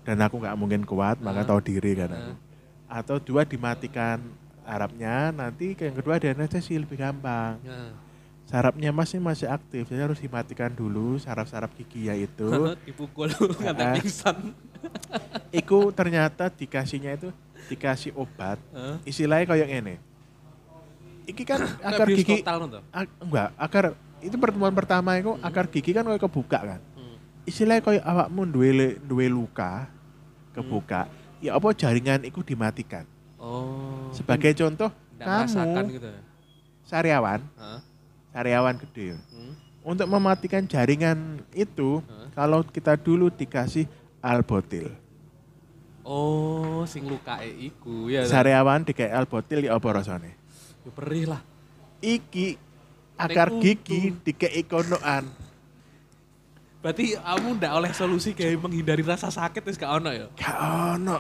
Speaker 2: dan aku nggak mungkin kuat maka
Speaker 1: Ah.
Speaker 2: tahu diri kan aku.
Speaker 1: ah.
Speaker 2: atau dua dimatikan harapnya nanti yang kedua ada anestesi lebih gampang
Speaker 1: Nah.
Speaker 2: sarafnya masih masih aktif jadi harus dimatikan dulu saraf-saraf gigi ya itu
Speaker 1: dipukul nganti
Speaker 2: Ah.
Speaker 1: pingsan.
Speaker 2: iku ternyata dikasihnya itu dikasih obat
Speaker 1: Heeh.
Speaker 2: istilahnya kayak ini iki kan akar gigi ak- enggak akar itu pertemuan pertama itu akar gigi kan kayak kebuka kan istilahnya kayak awakmu duwe duwe luka kebuka ya apa jaringan itu dimatikan
Speaker 1: Oh.
Speaker 2: sebagai contoh
Speaker 1: ndak merasakan
Speaker 2: kamu
Speaker 1: gitu ya.
Speaker 2: sariawan
Speaker 1: Heeh.
Speaker 2: sariawan gede
Speaker 1: Hmm.
Speaker 2: untuk mematikan jaringan itu
Speaker 1: Hah?
Speaker 2: kalau kita dulu dikasih albotil
Speaker 1: Oh, sing lukae iku ya.
Speaker 2: sariawan dikai albotil ya apa rasane
Speaker 1: Yo perih lah.
Speaker 2: iki akar
Speaker 1: Nek
Speaker 2: gigi
Speaker 1: untu.
Speaker 2: dikai konoan
Speaker 1: Berarti kamu ndak oleh solusi kayak menghindari rasa sakit wis gak ono ya.
Speaker 2: gak ono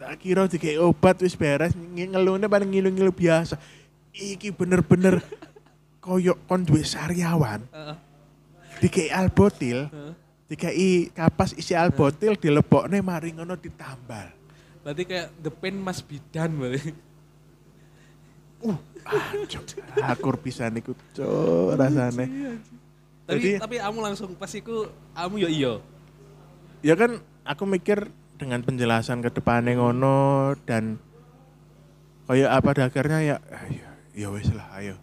Speaker 2: tak kira dikai obat wis beres nge- ngeluhnya paling ngilu-ngilu biasa iki bener-bener koyok kon duwe sariawan
Speaker 1: Heeh.
Speaker 2: dikai albotil
Speaker 1: heeh.
Speaker 2: dikai kapas isi albotil dilebokne mari ngono ditambal
Speaker 1: Berarti kayak the pain must be done berarti.
Speaker 2: Uh, ancur, akur pisan iku cuk rasane.
Speaker 1: Tapi
Speaker 2: Jadi-
Speaker 1: tapi kamu langsung pas iku kamu yo iya.
Speaker 2: Ya kan aku mikir dengan penjelasan ke depannya ngono dan kayak apa dagarnya ya ayo, ya wis lah ayo.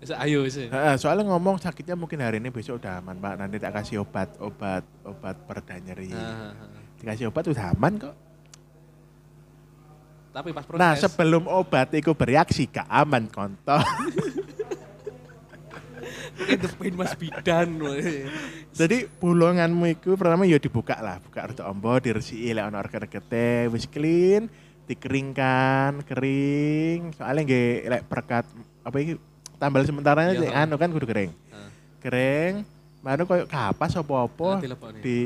Speaker 1: Wis ayo wis.
Speaker 2: Heeh, soalnya ngomong sakitnya mungkin hari ini besok udah aman Pak. Nanti tak kasih obat, obat, obat pereda nyeri.
Speaker 1: Nah, heeh.
Speaker 2: Dikasih obat udah aman kok.
Speaker 1: tapi pas proses
Speaker 2: Nah, sebelum obat itu bereaksi gak aman kontol.
Speaker 1: eh, the pain must be done. berarti.
Speaker 2: Jadi bolonganmu itu pertama ya dibuka lah, buka rute ombo, diresiki lek ana organ-organe wis clean, dikeringkan, kering. Soalnya nggih lek perkat apa iki tambal sementaranya
Speaker 1: Iya,
Speaker 2: sih
Speaker 1: heeh.
Speaker 2: anu kan kudu kering.
Speaker 1: Heeh.
Speaker 2: Kering, baru koyo kapas
Speaker 1: Nah,
Speaker 2: apa-apa
Speaker 1: dilepokne.
Speaker 2: di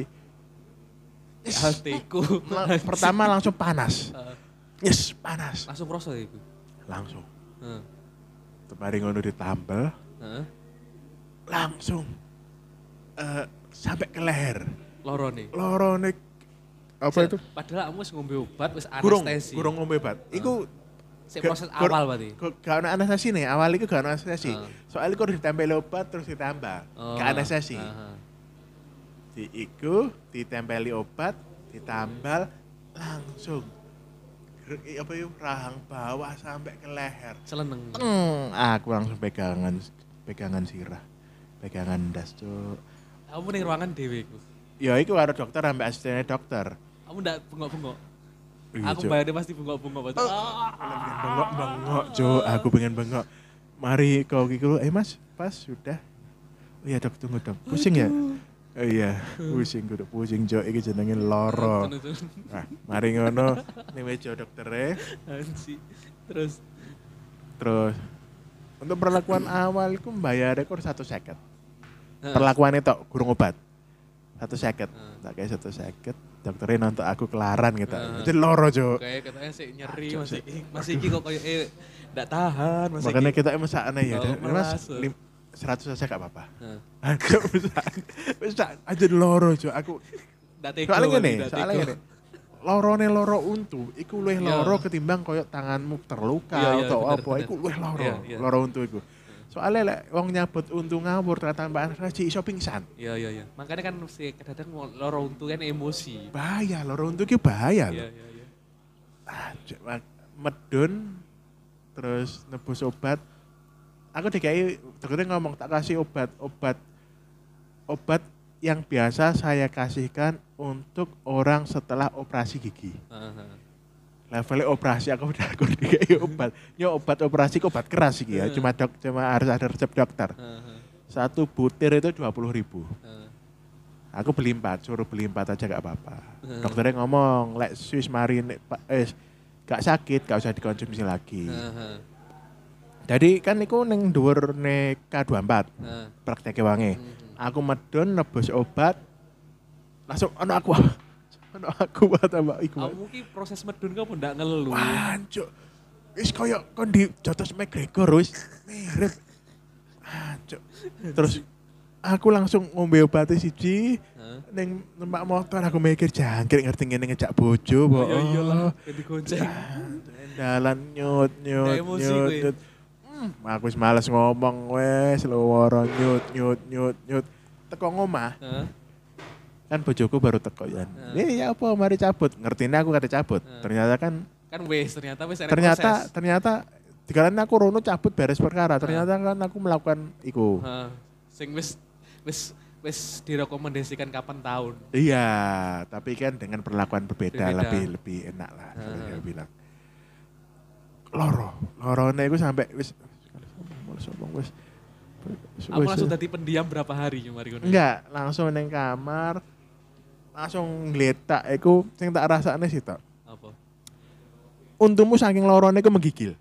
Speaker 1: hatiku
Speaker 2: la- pertama langsung panas.
Speaker 1: Heeh.
Speaker 2: Yes, panas.
Speaker 1: Eh, langsung rasa iku.
Speaker 2: Langsung.
Speaker 1: Heeh.
Speaker 2: Temari ngono ditambal,
Speaker 1: Heeh.
Speaker 2: langsung eh, sampai ke leher.
Speaker 1: Loro nih.
Speaker 2: Lorone apa itu?
Speaker 1: Padahal kamu wis ngombe obat, wis
Speaker 2: Gurung,
Speaker 1: anestesi.
Speaker 2: gurung ngombe obat. Iku
Speaker 1: Sik
Speaker 2: Ga-
Speaker 1: proses
Speaker 2: gur-
Speaker 1: awal berarti.
Speaker 2: gu- Gak ada anestesi nih, awal itu gak ada anestesi.
Speaker 1: Ah.
Speaker 2: Soalnya kok ditempel obat terus ditambah.
Speaker 1: Oh,
Speaker 2: Gak anestesi.
Speaker 1: heeh.
Speaker 2: Di iku, ditempeli obat, ditambal, langsung. Ger- i- Apa yuk, rahang bawah sampai ke leher.
Speaker 1: Celeneng.
Speaker 2: Teng, aku langsung pegangan, pegangan sirah. Pegangan das, cuk.
Speaker 1: Kamu ning ruangan dhewe iku.
Speaker 2: Ya, itu ada dokter, sampai asistennya dokter.
Speaker 1: Kamu ndak bengok-bengok.
Speaker 2: Iya, Oh.
Speaker 1: Aku
Speaker 2: Cuk.
Speaker 1: bayarnya pasti bengok-bengok. berarti. Ah.
Speaker 2: pengen bengok bengok Jo aku pengen bengok mari kau gitu eh mas pas sudah oh iya dok tunggu dok pusing ya oh iya pusing kudu pusing jo iki jenenge loro nah mari ngono ning meja doktere
Speaker 1: Anji. Terus
Speaker 2: terus untuk perlakuan awal ku bayar rekor satu seket
Speaker 1: Heeh.
Speaker 2: perlakuannya tok kurung obat satu seket
Speaker 1: Heeh.
Speaker 2: tak kayak satu seket dokternya nonton aku kelaran gitu
Speaker 1: Heeh.
Speaker 2: jadi loro jo
Speaker 1: kayak katanya sih nyeri
Speaker 2: Aduh,
Speaker 1: masih
Speaker 2: Cuk.
Speaker 1: ih, masih iki kok kayak eh ndak tahan masih
Speaker 2: makanya
Speaker 1: iki.
Speaker 2: kita emang saatnya ya
Speaker 1: Oh,
Speaker 2: Dan, mas
Speaker 1: malas.
Speaker 2: lim- 100 aja gak apa-apa
Speaker 1: Heeh.
Speaker 2: Aku bisa, bisa aja loro jo. Aku
Speaker 1: Ndak tega.
Speaker 2: soalnya
Speaker 1: Wali,
Speaker 2: gini,
Speaker 1: ndak
Speaker 2: soalnya
Speaker 1: tega.
Speaker 2: gini. Lorone loro untu, iku luwih
Speaker 1: Iya.
Speaker 2: loro ketimbang koyo tanganmu terluka
Speaker 1: Iya, iya,
Speaker 2: atau
Speaker 1: bener,
Speaker 2: apa,
Speaker 1: bener.
Speaker 2: iku luwih loro,
Speaker 1: Iya, iya.
Speaker 2: loro untu iku. Soalnya lek wong nyabut untu ngawur ternyata Mbak Raji iso pingsan.
Speaker 1: Iya iya iya. Makanya kan mesti kadang loro untu kan emosi.
Speaker 2: Bahaya, loro untu iki bahaya
Speaker 1: Iya
Speaker 2: lho.
Speaker 1: iya iya.
Speaker 2: Ah, cek, mak- medun terus nebus obat. Aku dikai dokternya ngomong tak kasih obat, obat obat yang biasa saya kasihkan untuk orang setelah operasi gigi.
Speaker 1: Heeh.
Speaker 2: levelnya operasi aku udah aku dikai obat ya obat operasi kok obat keras sih ya
Speaker 1: Heeh.
Speaker 2: cuma dok cuma harus ada resep dokter
Speaker 1: Heeh.
Speaker 2: satu butir itu dua puluh ribu
Speaker 1: Heeh.
Speaker 2: aku beli empat suruh beli empat aja gak apa-apa
Speaker 1: Heeh.
Speaker 2: dokternya ngomong lek Swiss Marine Pak, eh, gak sakit gak usah dikonsumsi lagi
Speaker 1: Heeh.
Speaker 2: jadi kan iku neng dhuwur ne K24
Speaker 1: Heeh.
Speaker 2: prakteknya wangi
Speaker 1: Mhm.
Speaker 2: aku medun nebus obat langsung ono aku ono aku tambah iku
Speaker 1: Kamu ki proses medun kamu ndak ngeluh.
Speaker 2: Wancuk. Wis koyo kon di jotos McGregor wis mirip. Wancuk. Terus aku langsung ngombe obat siji
Speaker 1: Heeh.
Speaker 2: ning numpak motor aku mikir jangkrik ngerti ngene ngejak bojo
Speaker 1: Oh,
Speaker 2: kok.
Speaker 1: iya iya lah, kayak digonceng.
Speaker 2: Dalan nyut nyut
Speaker 1: Nggak emosi
Speaker 2: nyut
Speaker 1: kuwi.
Speaker 2: nyut. Hmm, aku wis males ngomong wes loro nyut nyut nyut nyut. Teko ngomah
Speaker 1: Heeh.
Speaker 2: kan bojoku baru teko ya.
Speaker 1: Heeh.
Speaker 2: Eh ya apa mari cabut. Ngertine aku kate cabut.
Speaker 1: Heeh.
Speaker 2: Ternyata kan
Speaker 1: Kan wes ternyata wes ada
Speaker 2: ternyata
Speaker 1: proses.
Speaker 2: ternyata dikarenakan aku Rono cabut beres perkara ternyata kan aku melakukan iku
Speaker 1: Heeh. Sing wis wis wis direkomendasikan kapan tahun.
Speaker 2: iya tapi kan dengan perlakuan berbeda
Speaker 1: Berbeda.
Speaker 2: lebih lebih enak lah
Speaker 1: Heeh.
Speaker 2: kalau dia bilang loro lorone iku sampai wis mulai sombong wis
Speaker 1: Aku
Speaker 2: Wis-
Speaker 1: langsung tadi pendiam berapa hari kemarin ngono.
Speaker 2: enggak langsung neng kamar langsung ngletak iku sing tak rasane sih tok
Speaker 1: Apa?
Speaker 2: untumu saking lorone iku menggigil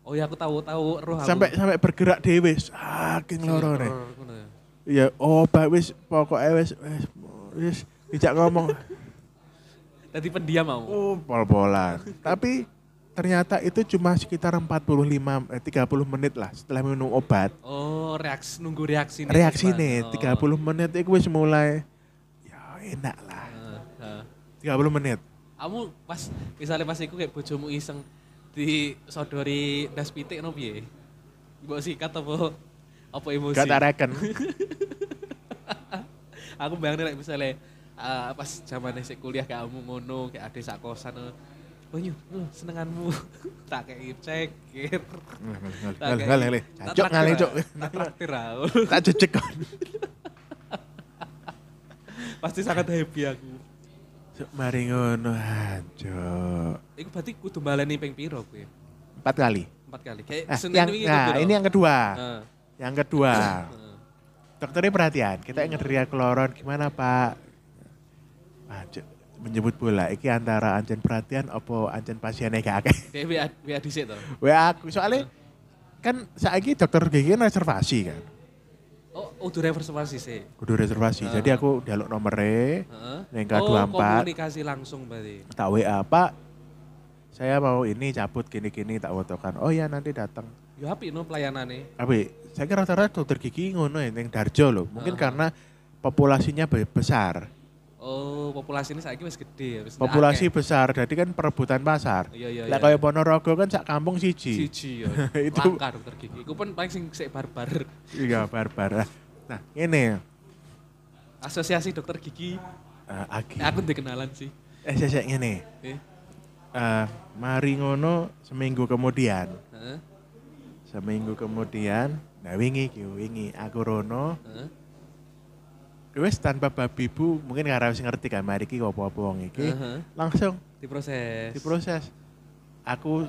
Speaker 1: Oh ya aku tahu tahu roh aku.
Speaker 2: sampai sampai bergerak dhewe saking lorone Ya, oh Pak wis pokoknya wis wis wis tidak ngomong
Speaker 1: Tadi pendiam mau.
Speaker 2: oh pol-polan. Tapi ternyata itu cuma sekitar 45 eh, 30 menit lah setelah minum obat.
Speaker 1: Oh, reaksi nunggu reaksi nih.
Speaker 2: Reaksi
Speaker 1: Mas.
Speaker 2: nih
Speaker 1: Oh.
Speaker 2: 30 menit itu wis mulai ya enak lah.
Speaker 1: Heeh, heeh.
Speaker 2: 30 menit.
Speaker 1: Kamu pas misalnya pas iku kayak bojomu iseng disodori das pitik no piye? Mbok sikat apa apa emosi?
Speaker 2: Gak tak reken.
Speaker 1: aku bayangin like, misalnya eh, pas zaman sik kuliah kayak kamu ngono kayak ada sak kosan ngono. oh nyu lu senenganmu tak kayak ceker tak
Speaker 2: Ngalih ngalih ngalih.
Speaker 1: tak
Speaker 2: Cok ngalih
Speaker 1: traktir,
Speaker 2: cok.
Speaker 1: ah. tak traktir ah.
Speaker 2: Tak jejek kon.
Speaker 1: pasti sangat happy aku
Speaker 2: Cok, Mari ngono Ah, anjok.
Speaker 1: Iku berarti kudu baleni ping piro kuwi?
Speaker 2: Empat kali.
Speaker 1: Empat kali. Kayak
Speaker 2: Nah,
Speaker 1: Senin
Speaker 2: yang,
Speaker 1: wingi Ah.
Speaker 2: nah
Speaker 1: kudu Eh,
Speaker 2: ini
Speaker 1: dong.
Speaker 2: yang kedua.
Speaker 1: Heeh,
Speaker 2: Yang kedua.
Speaker 1: heeh.
Speaker 2: Dokternya perhatian, kita
Speaker 1: Iya.
Speaker 2: ngedria kloron gimana pak? Ah, Cuk, menyebut bola, iki antara anjen perhatian apa anjen pasiennya gak akeh.
Speaker 1: Dia WA WA dhisik e to.
Speaker 2: Wah aku,
Speaker 1: Iya.
Speaker 2: soalnya kan saiki dokter gigi kan reservasi kan.
Speaker 1: Oh, udah reservasi sih.
Speaker 2: Kudu reservasi,
Speaker 1: Ah.
Speaker 2: jadi aku dialog nomornya,
Speaker 1: Heeh.
Speaker 2: Yang
Speaker 1: Oh,
Speaker 2: K24.
Speaker 1: komunikasi langsung berarti.
Speaker 2: tak WA pak, saya mau ini cabut gini-gini tak wotokan. Oh ya nanti datang.
Speaker 1: Ya apik no pelayanane.
Speaker 2: Tapi saya kira rata-rata dokter gigi ngono ya, yang Darjo loh.
Speaker 1: Ah.
Speaker 2: Mungkin karena populasinya be- besar.
Speaker 1: Oh, populasi ini saiki wis gede ya, wis
Speaker 2: Populasi
Speaker 1: akeh.
Speaker 2: besar, jadi kan perebutan pasar.
Speaker 1: Iya iya.
Speaker 2: Lah
Speaker 1: iya.
Speaker 2: kaya Ponorogo kan sak kampung siji.
Speaker 1: siji ya.
Speaker 2: Itu-
Speaker 1: Langka dokter gigi. Iku pun paling sing sik barbar.
Speaker 2: Iya barbar. Nah, ini
Speaker 1: Asosiasi dokter gigi.
Speaker 2: eh, Agi.
Speaker 1: Eh, aku dikenalan sih.
Speaker 2: Eh, sesek ngene.
Speaker 1: Eh,
Speaker 2: Eh, mari ngono seminggu kemudian.
Speaker 1: heeh,
Speaker 2: Seminggu kemudian, nah wingi ki wingi aku rono
Speaker 1: heeh,
Speaker 2: wis tanpa babi bu mungkin karena wis ngerti kan mari ki opo-opo wong iki.
Speaker 1: heeh.
Speaker 2: Langsung
Speaker 1: Diproses.
Speaker 2: diproses. Aku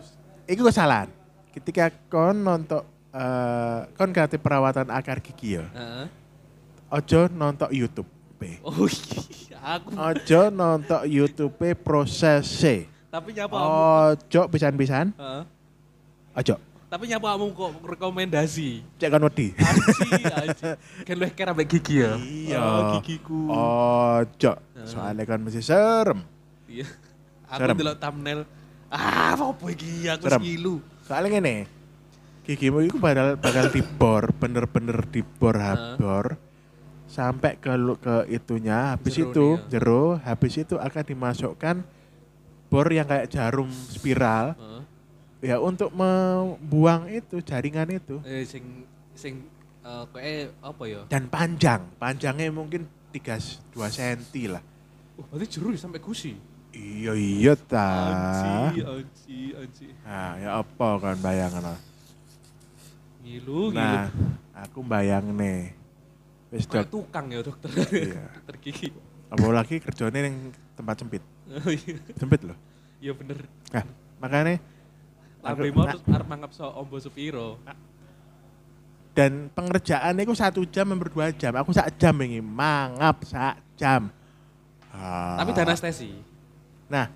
Speaker 2: iku kesalahan. ketika kon nonton eh kon kate perawatan akar gigi ya.
Speaker 1: Heeh.
Speaker 2: Ojo nonton YouTube. Be.
Speaker 1: Oh iya, aku
Speaker 2: Ojo nonton YouTube proses
Speaker 1: tapi nyapa kamu.
Speaker 2: Oh. Ojo pisan-pisan.
Speaker 1: Heeh.
Speaker 2: Ojo.
Speaker 1: Tapi nyapa kamu kok rekomendasi.
Speaker 2: Cek kon wedi.
Speaker 1: Aji, aji. Kan lu kira ambek gigi ya?
Speaker 2: Iya.
Speaker 1: Oh, gigiku.
Speaker 2: Ojo. Soalnya kan masih serem.
Speaker 1: Iya.
Speaker 2: Serem.
Speaker 1: Aku delok thumbnail. Ah, apa iki aku
Speaker 2: Serem.
Speaker 1: ngilu.
Speaker 2: Soalnya ngene. Gigimu itu bakal bakal dibor, bener-bener dibor
Speaker 1: Heeh.
Speaker 2: habor sampai ke lu- ke itunya habis
Speaker 1: Jero
Speaker 2: itu
Speaker 1: nih ya.
Speaker 2: jero habis itu akan dimasukkan bor yang kayak jarum spiral
Speaker 1: Heeh.
Speaker 2: ya untuk membuang itu jaringan itu
Speaker 1: Eh sing sing eh koe apa ya?
Speaker 2: dan panjang panjangnya mungkin 3 2 cm lah
Speaker 1: Oh, berarti jero ya sampai gusi.
Speaker 2: iya iya ta
Speaker 1: Aji, aji, aji.
Speaker 2: nah ya apa kan bayangan
Speaker 1: Ngilu, ngilu.
Speaker 2: nah aku bayang nih wis
Speaker 1: Kayak
Speaker 2: dok
Speaker 1: tukang ya dokter.
Speaker 2: Iya.
Speaker 1: dokter gigi.
Speaker 2: apa lagi kerjanya yang tempat sempit
Speaker 1: Oh, iya.
Speaker 2: sempit loh
Speaker 1: Iya bener.
Speaker 2: nah makanya aku-
Speaker 1: Lambe mau
Speaker 2: nah,
Speaker 1: terus arep mangap so ombo supiro.
Speaker 2: dan pengerjaan itu satu jam hampir dua jam aku sak jam ini mangap sak jam Ah.
Speaker 1: Tapi dana stesi.
Speaker 2: Nah,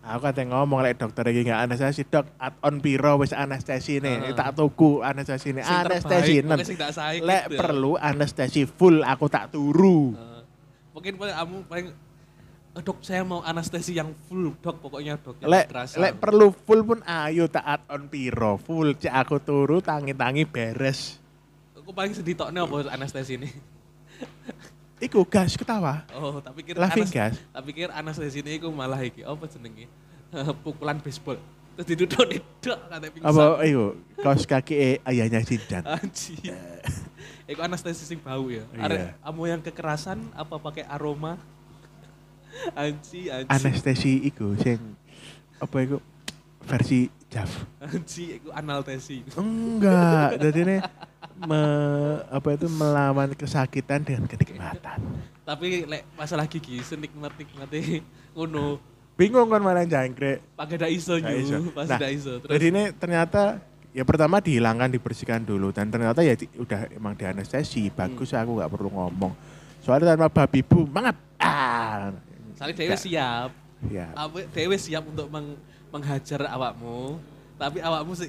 Speaker 2: aku kata ngomong lek dokter iki gak anestesi, Dok. Add on piro wis anestesi
Speaker 1: Heeh.
Speaker 2: nih. Tak tuku anestesi nih.
Speaker 1: Sing terbaik,
Speaker 2: Anestesi
Speaker 1: pokoknya
Speaker 2: nen.
Speaker 1: sing tak sae
Speaker 2: Lek
Speaker 1: gitu.
Speaker 2: perlu anestesi full aku tak turu.
Speaker 1: Eh, mungkin paling kamu paling "Eh, dok saya mau anestesi yang full dok pokoknya dok yang
Speaker 2: Lek
Speaker 1: terasa."
Speaker 2: lek perlu full pun ayo tak add on piro full cek aku turu tangi-tangi beres.
Speaker 1: aku paling sedih tokne apa anestesi ini
Speaker 2: Iku gas ketawa.
Speaker 1: oh tapi kira
Speaker 2: Laughing
Speaker 1: anes-
Speaker 2: gas.
Speaker 1: tapi kira anestesi ini aku malah iki apa jenenge Eh, pukulan baseball terus diduduk nih dok kata pingsan
Speaker 2: Apa iku kaos kaki eh, ayahnya Sindan.
Speaker 1: anji Iku anestesi sing bau ya.
Speaker 2: Iya.
Speaker 1: Arek kamu yang kekerasan apa pakai aroma? Anji, anji,
Speaker 2: Anestesi iku sing apa iku versi Jav.
Speaker 1: anji, iku analtesi.
Speaker 2: Enggak, jadi ini me- apa itu melawan kesakitan dengan kenikmatan.
Speaker 1: Tapi lek masalah gigi senikmat-nikmate ngono.
Speaker 2: Bingung kan malah jangkrik.
Speaker 1: Pak ada iso
Speaker 2: Nggak iso.
Speaker 1: nyu, pas
Speaker 2: Nah,
Speaker 1: ada iso. Terus
Speaker 2: Jadi ini ternyata ya pertama dihilangkan dibersihkan dulu dan ternyata ya di- udah emang di anestesi
Speaker 1: Hmm.
Speaker 2: bagus aku nggak perlu ngomong soalnya tanpa babi bu mangap ah
Speaker 1: Soalnya dewe
Speaker 2: Nggak,
Speaker 1: siap.
Speaker 2: ya
Speaker 1: Apa dewe siap untuk meng- menghajar awakmu. Tapi awakmu sih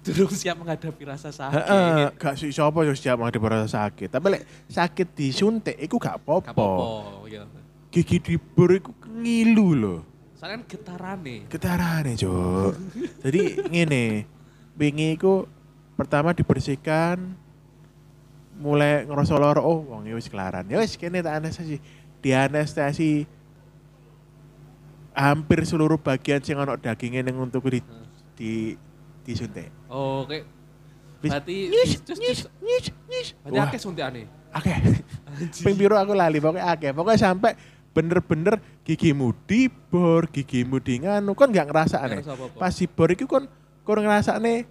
Speaker 1: durung siap menghadapi rasa
Speaker 2: Heeh,
Speaker 1: sakit.
Speaker 2: gak sih siapa yang siap menghadapi rasa sakit tapi lek sakit disuntik itu gak
Speaker 1: Gak
Speaker 2: popo
Speaker 1: apa-apa, ya.
Speaker 2: gigi dibur itu ngilu loh
Speaker 1: Soalnya kan getarane.
Speaker 2: Getarane, Cuk. Jadi ngene, wingi iku pertama dibersihkan mulai ngerasa lara, oh wong iki wis kelaran. Ya wis kene tak anestesi. Dianestesi hampir seluruh bagian sing ono daginge ning untuk di di disuntik.
Speaker 1: Oh, oke.
Speaker 2: Wis.
Speaker 1: Berarti
Speaker 2: Nyis,
Speaker 1: just-
Speaker 2: nyis,
Speaker 1: just-
Speaker 2: nyis, nyis.
Speaker 1: berarti
Speaker 2: Wah,
Speaker 1: akeh suntikane.
Speaker 2: akeh.
Speaker 1: Anjing.
Speaker 2: Ping biru aku lali pokoknya akeh. Pokoknya sampai bener-bener gigimu dibor, gigimu di nganu kan gak ngerasa
Speaker 1: Gak
Speaker 2: aneh.
Speaker 1: ngerasa apa-apa.
Speaker 2: Pas dibor itu kon kon ngerasane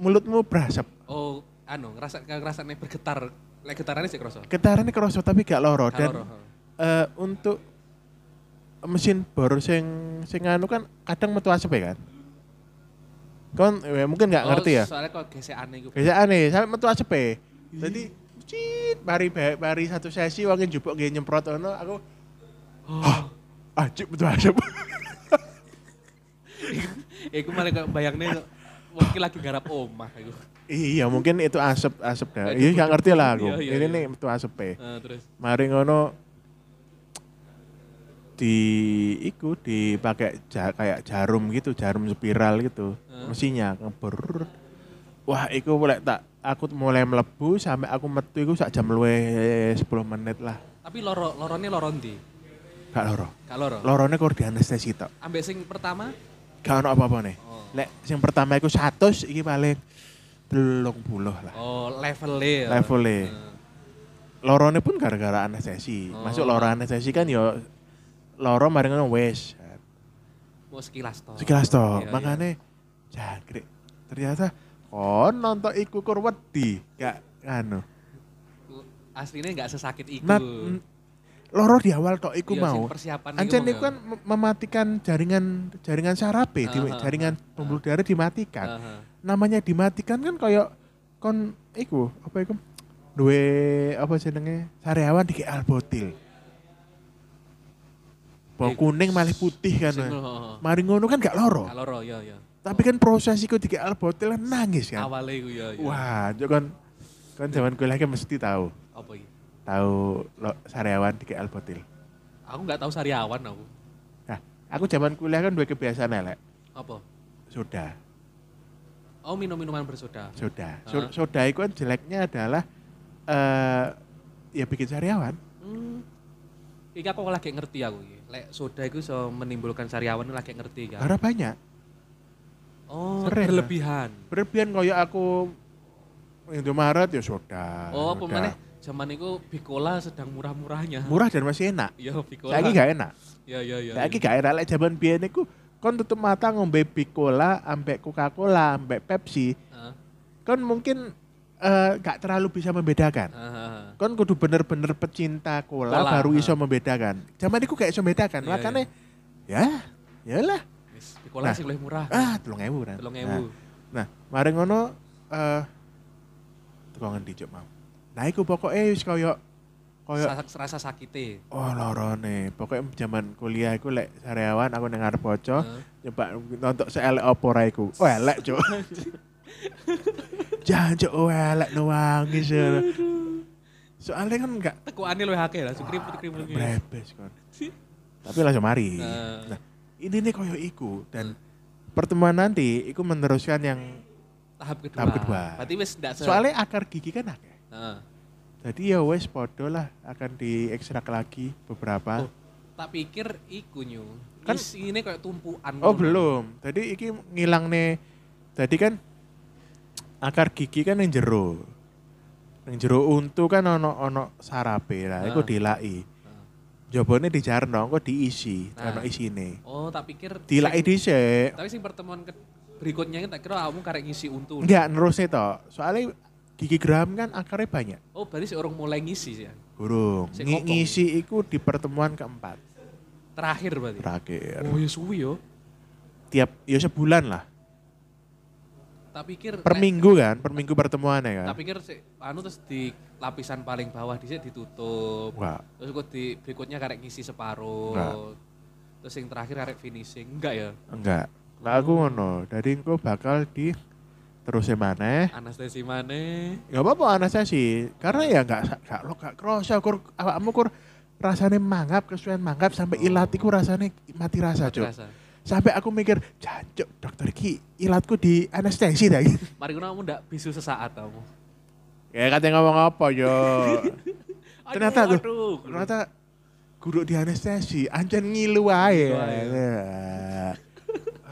Speaker 2: mulutmu berasap.
Speaker 1: Oh, anu, ngerasa ngerasane bergetar. Lek getarane sih kerasa.
Speaker 2: Getarannya kerasa tapi gak loro
Speaker 1: Gak
Speaker 2: Oh, dan
Speaker 1: loro,
Speaker 2: eh, untuk mesin bor sing sing nganu kan kadang metu asap ya kan. Kon eh, mungkin
Speaker 1: Oh,
Speaker 2: gak ngerti ya.
Speaker 1: Soalnya kok gesekane iku.
Speaker 2: Biasa aneh, sampai metu asep e. Jadi cit bari ba- bari satu sesi wong njupuk nggih nyemprot ono aku
Speaker 1: Oh.
Speaker 2: ah cip metu asep.
Speaker 1: Iku malah kayak bayangne mungkin lagi garap omah iku.
Speaker 2: iya, mungkin itu asep asep dah.
Speaker 1: Kayak
Speaker 2: Iya
Speaker 1: cukup-
Speaker 2: gak ngerti lah aku.
Speaker 1: Iya, iya,
Speaker 2: Ini
Speaker 1: iya.
Speaker 2: nih metu asep e.
Speaker 1: Eh, terus
Speaker 2: Mari ngono di iku dipakai ja- kayak jarum gitu, jarum spiral gitu.
Speaker 1: Heeh.
Speaker 2: Mesinnya ngebor. Wah, iku mulai tak aku mulai melebu sampai aku metu iku sak jam luwe 10 menit lah.
Speaker 1: tapi loro lorone loro ndi?
Speaker 2: Gak loro.
Speaker 1: Gak loro.
Speaker 2: Lorone kok di anestesi tok.
Speaker 1: Ambek sing pertama
Speaker 2: Gak ono apa-apa nih.
Speaker 1: Oh.
Speaker 2: Lek sing pertama iku 100 iki paling 30 lah.
Speaker 1: oh levele. ya.
Speaker 2: Levele.
Speaker 1: Eh,
Speaker 2: Lorone pun gara-gara anestesi.
Speaker 1: Oh.
Speaker 2: Masuk loro anestesi kan yo loro mari ngono wis.
Speaker 1: Mau sekilas toh.
Speaker 2: Sekilas
Speaker 1: Iya,
Speaker 2: tok.
Speaker 1: iya.
Speaker 2: Makane jangkrik. Ternyata kon nonton iku kur wedi. Gak anu.
Speaker 1: Aslinya nggak sesakit iku.
Speaker 2: Nah, mm, loro di awal tok iku
Speaker 1: Iya, sing
Speaker 2: mau.
Speaker 1: Persiapan iku
Speaker 2: Ancen
Speaker 1: mau
Speaker 2: iku kan mem- mematikan jaringan jaringan saraf, e, di-
Speaker 1: Aha,
Speaker 2: jaringan pembuluh darah dimatikan.
Speaker 1: Aha.
Speaker 2: namanya dimatikan kan kayak kon iku apa iku duwe apa jenenge sariawan di albotil Bawa
Speaker 1: Iku,
Speaker 2: kuning malah putih kan.
Speaker 1: Sing-
Speaker 2: eh.
Speaker 1: oh, oh.
Speaker 2: Mari ngono kan gak loro.
Speaker 1: Gak loro ya ya.
Speaker 2: Tapi kan proses iku di albotil kan nangis kan.
Speaker 1: Awale iku ya ya.
Speaker 2: Wah, itu kan kan zaman kuliah kan mesti tahu.
Speaker 1: Apa iki?
Speaker 2: Tahu lo sariawan di albotil.
Speaker 1: Aku nggak tahu sariawan aku.
Speaker 2: Nah, aku zaman kuliah kan dua kebiasaan elek.
Speaker 1: Apa?
Speaker 2: Soda,
Speaker 1: Oh, minum-minuman bersoda.
Speaker 2: soda.
Speaker 1: Ah.
Speaker 2: So- Soda itu kan jeleknya adalah eh ya bikin sariawan.
Speaker 1: Hmm. Iki aku lagi ngerti aku iki. Lek soda iku iso menimbulkan sariawan iku lagi ngerti kan.
Speaker 2: Karena banyak.
Speaker 1: Oh,
Speaker 2: Keren,
Speaker 1: berlebihan.
Speaker 2: Berlebihan koyo aku Indomaret ya soda.
Speaker 1: Oh, apa
Speaker 2: soda.
Speaker 1: meneh zaman iku Bicola sedang murah-murahnya.
Speaker 2: Murah dan masih enak.
Speaker 1: Iya, Bicola.
Speaker 2: Saiki gak enak.
Speaker 1: Ya ya ya.
Speaker 2: Saiki gak enak lek jaman biyen iku kon tutup mata ngombe Bicola, ambek Coca-Cola, ambek Pepsi,
Speaker 1: Heeh.
Speaker 2: kon mungkin eh, gak terlalu bisa membedakan.
Speaker 1: Heeh.
Speaker 2: Kon kudu bener-bener pecinta cola,
Speaker 1: Cola,
Speaker 2: baru
Speaker 1: ah.
Speaker 2: iso membedakan. Zaman iku gak iso membedakan,
Speaker 1: Iya,
Speaker 2: makanya ya, yalah.
Speaker 1: Wis, Bicola
Speaker 2: Nah.
Speaker 1: sih lebih murah.
Speaker 2: Ah, telung ewu. Ran.
Speaker 1: 3000.
Speaker 2: Nah, mari ngono eh teko ngendi Cuk, mau. Nah, iku pokoke wis koyo koyo
Speaker 1: Sa- Rasa sakite.
Speaker 2: oh lorone. Pokoke zaman kuliah iku lek sariawan aku ning arep boco
Speaker 1: Heeh.
Speaker 2: nyoba nonton seelek opo ra iku. Oh, elek, Cuk. Jangan Cuk, oh elek nuwangi Soalnya kan enggak
Speaker 1: Tekukane luwih akeh lah, kriput-kriput iki.
Speaker 2: brebes kon. Tapi langsung mari.
Speaker 1: Nah.
Speaker 2: Nah, ini nih koyo iku dan pertemuan nanti iku meneruskan yang
Speaker 1: Tahap kedua.
Speaker 2: Tahap kedua.
Speaker 1: Berarti wis ndak se-
Speaker 2: soalnya akar gigi kan akeh.
Speaker 1: Heeh.
Speaker 2: Jadi ya wes podo lah akan diekstrak lagi beberapa.
Speaker 1: Oh, tak pikir iku nyu.
Speaker 2: Kan-
Speaker 1: Kan ini kayak tumpuan. ngono.
Speaker 2: Oh, belum. Tadi iki ngilang nih. Tadi kan akar gigi kan yang jero. Yang jero untu kan ono ono sarape lah. Iku
Speaker 1: Ah.
Speaker 2: dilai.
Speaker 1: Nah.
Speaker 2: Jobone dijarno, kok diisi,
Speaker 1: Nah.
Speaker 2: ono isine.
Speaker 1: Oh, tak pikir
Speaker 2: Dilai
Speaker 1: sing-
Speaker 2: dhisik.
Speaker 1: Tapi sing pertemuan ke- berikutnya ini tak kira kamu karek ngisi untu.
Speaker 2: Enggak nerusnya toh. Soalnya gigi geram kan akarnya banyak.
Speaker 1: Oh, berarti si orang mulai ngisi sih. ya?
Speaker 2: Burung.
Speaker 1: Sing
Speaker 2: Ngi-
Speaker 1: ngokong.
Speaker 2: ngisi iku di pertemuan keempat
Speaker 1: Terakhir berarti.
Speaker 2: terakhir.
Speaker 1: Oh, ya suwi yo.
Speaker 2: Tiap ya sebulan lah.
Speaker 1: Tak pikir
Speaker 2: per
Speaker 1: nek-
Speaker 2: minggu kan, per minggu pertemuan ya kan.
Speaker 1: Tak pikir si, anu terus di lapisan paling bawah dhisik ditutup.
Speaker 2: Enggak.
Speaker 1: Terus kok di berikutnya karek ngisi separuh.
Speaker 2: Enggak.
Speaker 1: Terus yang terakhir karek finishing. Enggak ya?
Speaker 2: Enggak. Lah aku ngono, dari engko bakal di terus maneh.
Speaker 1: Anestesi mana?
Speaker 2: Enggak apa-apa anestesi, karena ya enggak sa- enggak lo enggak kroso kur awakmu kur rasane mangap kesuwen mangap sampai
Speaker 1: Oh.
Speaker 2: ilatiku rasane mati rasa, Cuk.
Speaker 1: Terasa.
Speaker 2: Sampai aku mikir, jancuk dokter ki ilatku di anestesi ta iki."
Speaker 1: Mari ngono kamu ndak bisu sesaat kamu.
Speaker 2: Ya katanya ngomong apa yo.
Speaker 1: Aduh,
Speaker 2: Ternyata tuh,
Speaker 1: aduh.
Speaker 2: Ternyata guru di anestesi anjen ngilu ae. Iya.
Speaker 1: Ngilu ae. ya.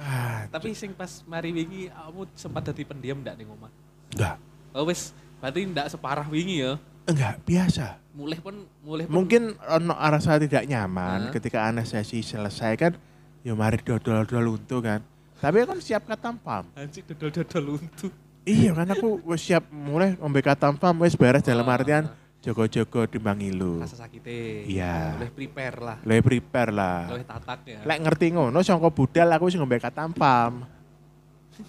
Speaker 2: Ah,
Speaker 1: Tapi sing pas mari wingi kamu sempat dadi pendiam ndak ning omah?
Speaker 2: enggak,
Speaker 1: Oh wis, berarti ndak separah wingi ya.
Speaker 2: enggak biasa.
Speaker 1: Mulih pun mulih pun
Speaker 2: Mungkin ono rasa tidak nyaman
Speaker 1: Hah?
Speaker 2: ketika anestesi selesai kan, ya mari dodol-dodol untu kan. Tapi kan siap katampam.
Speaker 1: anjing dodol-dodol untu.
Speaker 2: Iya kan aku wis siap mulai ngombe katampam wis beres dalam
Speaker 1: Ah.
Speaker 2: artian jogo-jogo timbang ilu.
Speaker 1: Rasa sakite.
Speaker 2: Hmm. Iya.
Speaker 1: Mulih prepare lah.
Speaker 2: Lebih prepare lah.
Speaker 1: Mulih tatak ya.
Speaker 2: Lek ngerti ngono sangka budal aku wis ngombe katampam.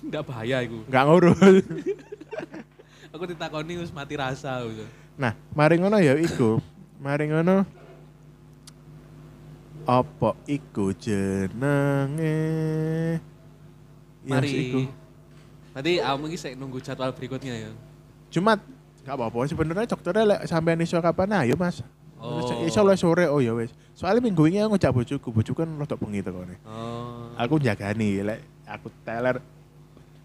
Speaker 1: Ndak bahaya iku.
Speaker 2: Enggak ngurus.
Speaker 1: Aku ditakoni wis mati rasa gitu.
Speaker 2: Nah, mari ngono ya iku. Mari ngono. Apa iku jenenge? Ya,
Speaker 1: Mari.
Speaker 2: sih, iku.
Speaker 1: Nanti kamu iki sik nunggu jadwal berikutnya ya.
Speaker 2: Jumat gak apa-apa sebenarnya dokternya lek sampean iso kapan nah, ayo Mas.
Speaker 1: Oh.
Speaker 2: Iso le sore oh ya wis. Soalnya minggu ini aku ngejak bojoku, bojoku kan rodok bengi tekone.
Speaker 1: Oh.
Speaker 2: Aku jagani lek aku teler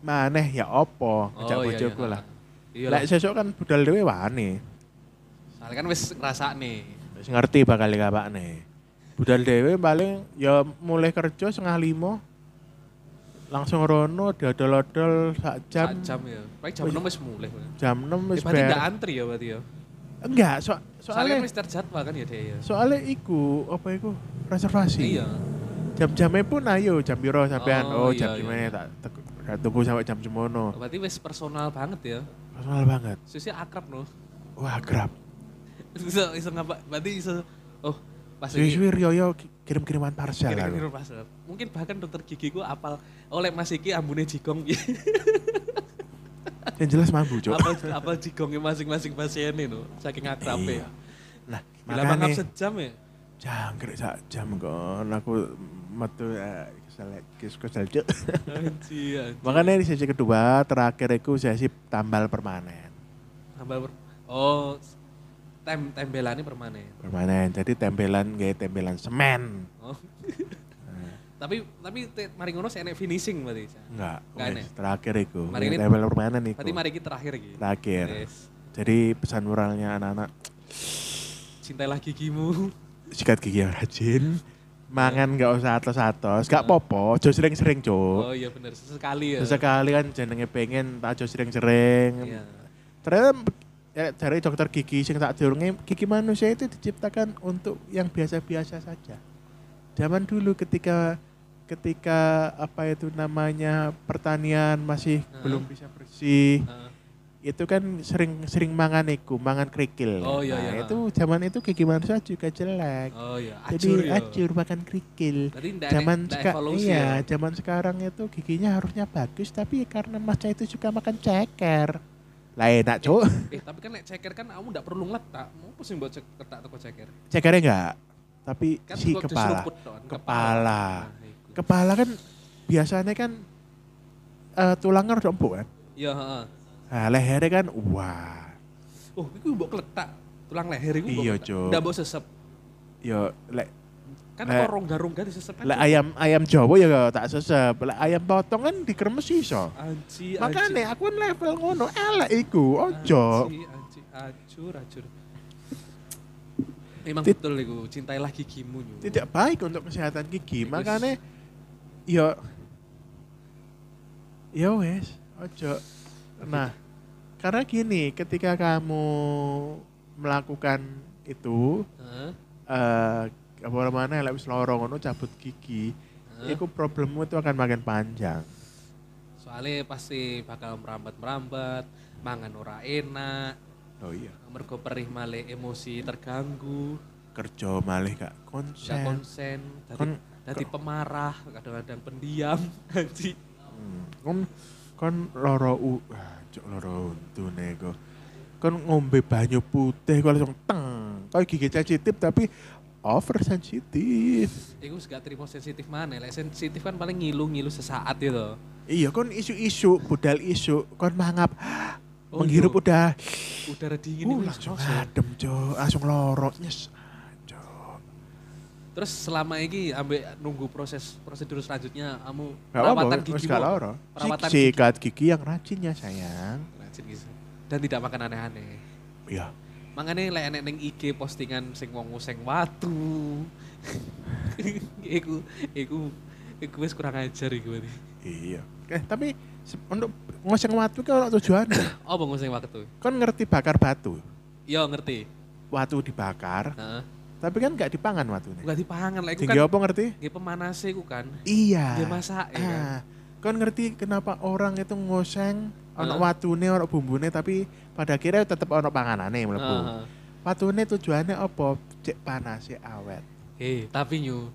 Speaker 2: maneh ya opo ngejak bojoku lah.
Speaker 1: Oh. Iya lah.
Speaker 2: Lek sesuk kan budal dhewe wani.
Speaker 1: Soalnya kan wis ngrasakne.
Speaker 2: Wis ngerti bakal kapakne. Budal dhewe paling ya mulai kerja setengah lima langsung rono dodol-dodol sak jam.
Speaker 1: Sak jam ya. Paling jam
Speaker 2: Wis-
Speaker 1: 6 wis mulih.
Speaker 2: Jam 6
Speaker 1: Ya,
Speaker 2: wis
Speaker 1: berarti ndak
Speaker 2: ber.
Speaker 1: antri ya berarti ya.
Speaker 2: Enggak, so,
Speaker 1: Soalnya
Speaker 2: soalnya
Speaker 1: wis terjadwal kan ya Dek ya.
Speaker 2: soalnya iku apa iku reservasi.
Speaker 1: Iya.
Speaker 2: Jam-jamnya pun ayo jam piro sampean.
Speaker 1: Oh,
Speaker 2: Oh,
Speaker 1: iya,
Speaker 2: jam
Speaker 1: iya,
Speaker 2: gimana
Speaker 1: iya.
Speaker 2: tak tek- tak tunggu sampai jam semono.
Speaker 1: Berarti wis personal banget ya.
Speaker 2: Personal banget.
Speaker 1: Susi akrab loh.
Speaker 2: Wah, kerap.
Speaker 1: Iso iso ngapa? Berarti iso oh pas iki-
Speaker 2: Suwi-suwi Rioyo ki- kirim-kiriman parcel
Speaker 1: Kira-kira
Speaker 2: aku.
Speaker 1: oh, pas. Mungkin bahkan dokter gigi ku apal oleh Mas Iki ambune jigong piye.
Speaker 2: Yang jelas mambu, Cok.
Speaker 1: apa apa digongnya masing-masing pasien itu saking akrabnya.
Speaker 2: Iya. Nah,
Speaker 1: Gila mangap
Speaker 2: makanya
Speaker 1: sejam ya.
Speaker 2: jangkrik sak jam kon aku metu eh, kesel kes- kesel Cok.
Speaker 1: Anji, anji.
Speaker 2: Makanya di sesi kedua terakhir itu sesi tambal permanen.
Speaker 1: Tambah per- oh tem tembelannya permanen.
Speaker 2: Permanen. Jadi tempelan kayak tempelan semen.
Speaker 1: Oh. tapi tapi te- mari ngono saya enek finishing berarti. Sa.
Speaker 2: Enggak,
Speaker 1: Enggak
Speaker 2: wes,
Speaker 1: enak.
Speaker 2: terakhir itu.
Speaker 1: Mari ini-
Speaker 2: Tempel permanen itu.
Speaker 1: Berarti mari kita terakhir gitu.
Speaker 2: Terakhir.
Speaker 1: Yes.
Speaker 2: Jadi pesan moralnya anak-anak
Speaker 1: Cintailah gigimu.
Speaker 2: sikat gigi yang rajin, mangan nggak usah atos-atos, nggak popo, jo sering-sering
Speaker 1: Oh
Speaker 2: jo.
Speaker 1: iya bener sesekali ya.
Speaker 2: Sesekali kan jenenge pengen tak jo sering-sering.
Speaker 1: Iya.
Speaker 2: Ternyata ya, dari dokter gigi sing tak durunge gigi manusia itu diciptakan untuk yang biasa-biasa saja. Zaman dulu ketika ketika apa itu namanya pertanian masih
Speaker 1: Heeh.
Speaker 2: belum bisa bersih,
Speaker 1: Ah,
Speaker 2: itu kan sering-sering mangan iku, mangan kerikil.
Speaker 1: Oh, iya,
Speaker 2: Nah,
Speaker 1: iya.
Speaker 2: itu zaman itu gigi manusia juga jelek.
Speaker 1: oh iya, acur
Speaker 2: Jadi
Speaker 1: ya.
Speaker 2: acur makan kerikil.
Speaker 1: Berarti ndak
Speaker 2: Zaman
Speaker 1: ndak
Speaker 2: seka-
Speaker 1: evolusi
Speaker 2: iya,
Speaker 1: ya.
Speaker 2: zaman sekarang itu giginya harusnya bagus tapi karena masnya itu suka makan ceker. Lah enak, Cuk.
Speaker 1: Eh tapi kan nek ceker kan kamu ndak perlu ngletak. Mau apa sih mbok cek ketak toko ceker?
Speaker 2: Cekernya enggak. Tapi
Speaker 1: Kan
Speaker 2: si
Speaker 1: kok
Speaker 2: kepala.
Speaker 1: diseruput toh, kan,
Speaker 2: Kepala.
Speaker 1: Nah, iku.
Speaker 2: Kepala kan biasanya kan eh, tulangnya udah empuk kan.
Speaker 1: Iya, heeh.
Speaker 2: Nah, lehernya kan wah.
Speaker 1: Oh, iku mbok kletak. Tulang leher iku mbok
Speaker 2: Iya,
Speaker 1: kletak.
Speaker 2: Cuk.
Speaker 1: Ndak mbok sesep.
Speaker 2: Yo lek
Speaker 1: Kan
Speaker 2: Lek-
Speaker 1: kok rongga-rongga disesep kan.
Speaker 2: lek
Speaker 1: Cuk.
Speaker 2: ayam ayam Jawa ya tak sesep. Lek ayam potong kan dikremes iso.
Speaker 1: Anji, anji.
Speaker 2: Makanya aku kan level ngono elek iku ojo.
Speaker 1: Anji, anji, acur, acur. Memang
Speaker 2: Tid-
Speaker 1: betul iku, cintailah gigimu. Yu.
Speaker 2: tidak baik untuk kesehatan gigi
Speaker 1: Wis.
Speaker 2: makanya yo yo ya wes ojo nah karena gini ketika kamu melakukan itu
Speaker 1: Heeh.
Speaker 2: eh apa mana lek wis lara ngono cabut gigi
Speaker 1: heeh.
Speaker 2: itu problemmu itu akan makin panjang
Speaker 1: Soalnya pasti bakal merambat-merambat, mangan ora enak,
Speaker 2: oh iya
Speaker 1: mergo perih malih emosi terganggu,
Speaker 2: kerja malih
Speaker 1: gak
Speaker 2: gak konsen
Speaker 1: konsen, dari,
Speaker 2: kon
Speaker 1: dari pemarah, kadang-kadang pendiam, anji.
Speaker 2: Hmm, kon kon kan loro u ah, cuk loro untune kok. Kon ngombe banyu putih kok langsung teng. Kok gigi sensitif tapi over sensitif.
Speaker 1: Iku wis gak terima sensitif mana, lek sensitif kan paling ngilu-ngilu sesaat gitu.
Speaker 2: Iya kon isu-isu, budal isu, kon mangap
Speaker 1: Oh,
Speaker 2: menghirup
Speaker 1: iya.
Speaker 2: udah
Speaker 1: Udara dingin
Speaker 2: uh,
Speaker 1: iku langsung
Speaker 2: langsung
Speaker 1: masuk.
Speaker 2: adem cuk, langsung loro nyes. Ah, Cuk.
Speaker 1: Terus selama ini ambek nunggu proses prosedur selanjutnya kamu
Speaker 2: Gak
Speaker 1: perawatan
Speaker 2: apa-apa, wis
Speaker 1: gigi
Speaker 2: gak loro.
Speaker 1: Perawatan
Speaker 2: Sik- Sikat gigi yang rajin ya sayang.
Speaker 1: Rajin gitu. Dan tidak makan aneh-aneh.
Speaker 2: Iya.
Speaker 1: Makanya lek enek ning IG postingan sing wong sing watu. iku iku iku wis kurang ajar iku berarti.
Speaker 2: Iya. Eh, tapi se- untuk ngoseng watu kan ono tujuannya.
Speaker 1: Apa wong sing watu?
Speaker 2: Kon ngerti bakar batu?
Speaker 1: Yo ngerti.
Speaker 2: watu dibakar,
Speaker 1: Heeh.
Speaker 2: tapi kan nggak dipangan watunya.
Speaker 1: Bukan dipangan lek iku
Speaker 2: Tinggi
Speaker 1: kan
Speaker 2: apa ngerti?
Speaker 1: nggih pemanase iku kan.
Speaker 2: Iya.
Speaker 1: Nggih masake kan.
Speaker 2: Ah, Kan ngerti kenapa orang itu ngoseng ono
Speaker 1: Heeh.
Speaker 2: watune, ono bumbune tapi pada akhirnya tetap ono panganane mlebu.
Speaker 1: Heeh.
Speaker 2: Watune tujuannya apa? Cek panasnya awet.
Speaker 1: Eh, tapi nyu.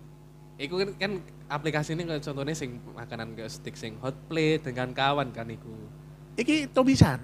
Speaker 1: Iku kan, kan aplikasi ini kayak contohnya sing makanan kayak stick sing hot plate dengan kawan kan iku.
Speaker 2: Iki tulisan.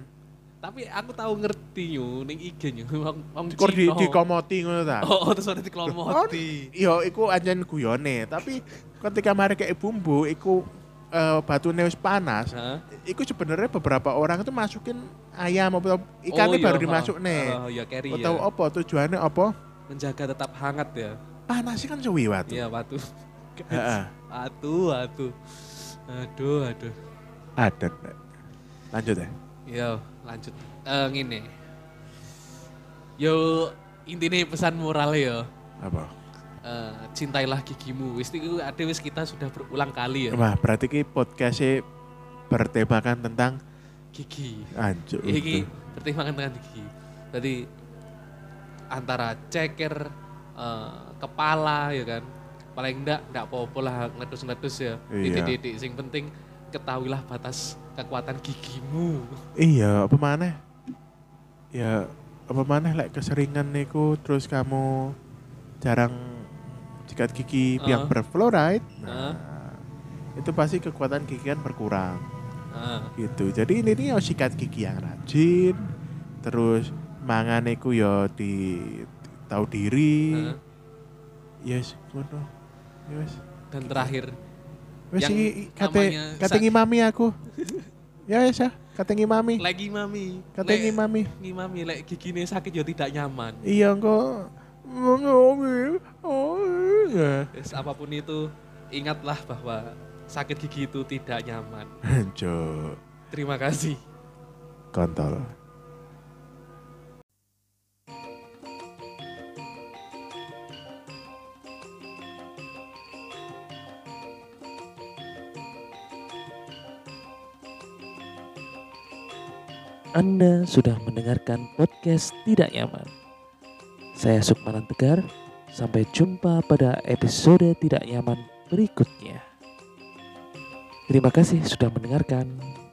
Speaker 1: Tapi aku tahu ngerti nyu ning IG nyu wong wong
Speaker 2: Kor di
Speaker 1: Cina.
Speaker 2: dikomoti ngono ta.
Speaker 1: Oh, oh, terus ada diklomoti.
Speaker 2: Yo, iku anjen guyone, tapi ketika mari kayak bumbu, iku eh, batune wis panas,
Speaker 1: Hah?
Speaker 2: Iku sebenarnya beberapa orang itu masukin ayam atau ikan
Speaker 1: Oh, iya,
Speaker 2: baru
Speaker 1: ha.
Speaker 2: dimasuk nih.
Speaker 1: Oh, iya carry
Speaker 2: Atau
Speaker 1: ya.
Speaker 2: apa tujuannya apa?
Speaker 1: Menjaga tetap hangat ya.
Speaker 2: Panasnya kan suwi watu.
Speaker 1: Iya, watu.
Speaker 2: Heeh.
Speaker 1: Watu, watu. Aduh, aduh.
Speaker 2: Ada. Mbak. Lanjut ya.
Speaker 1: Yo, Iya, lanjut. Eh ngene. Yo, intinya pesan moral ya. yo.
Speaker 2: Apa?
Speaker 1: Eh, cintailah gigimu. Wis itu ada wis kita sudah berulang kali ya.
Speaker 2: Wah, berarti ki podcastnya bertemakan tentang
Speaker 1: Gigi.
Speaker 2: anjuk.
Speaker 1: Iki
Speaker 2: itu.
Speaker 1: pertimbangan dengan gigi. Jadi antara ceker, eh, kepala ya kan. Paling enggak enggak apa-apa lah ngedus-ngedus ya.
Speaker 2: Iya.
Speaker 1: Titik-titik sing penting ketahuilah batas kekuatan gigimu.
Speaker 2: Iya, apa maneh? Ya, apa maneh lek keseringan niku terus kamu jarang sikat gigi yang
Speaker 1: Heeh. Heeh.
Speaker 2: berfluoride. Nah, itu pasti kekuatan gigi kan berkurang.
Speaker 1: Heeh. Heeh.
Speaker 2: gitu jadi ini nih yo sikat gigi yang rajin terus mangan iku yo di tahu diri
Speaker 1: Heeh.
Speaker 2: yes ngono yes
Speaker 1: Dan terakhir
Speaker 2: wes
Speaker 1: Yang
Speaker 2: iki kate
Speaker 1: namanya
Speaker 2: kate
Speaker 1: sa-
Speaker 2: ngimami aku ya wes ya kate ngimami
Speaker 1: lagi mami.
Speaker 2: kate ngimami
Speaker 1: ngimami lek gigine sakit yo tidak nyaman.
Speaker 2: iya engko ngomong oh iya.
Speaker 1: Yes, apapun itu ingatlah bahwa sakit gigi itu tidak nyaman.
Speaker 2: Cuk,
Speaker 1: Terima kasih.
Speaker 2: kontol
Speaker 3: Anda sudah mendengarkan podcast Tidak Nyaman. Saya Sukmanan Tegar, sampai jumpa pada episode Tidak Nyaman berikutnya. Terima kasih sudah mendengarkan.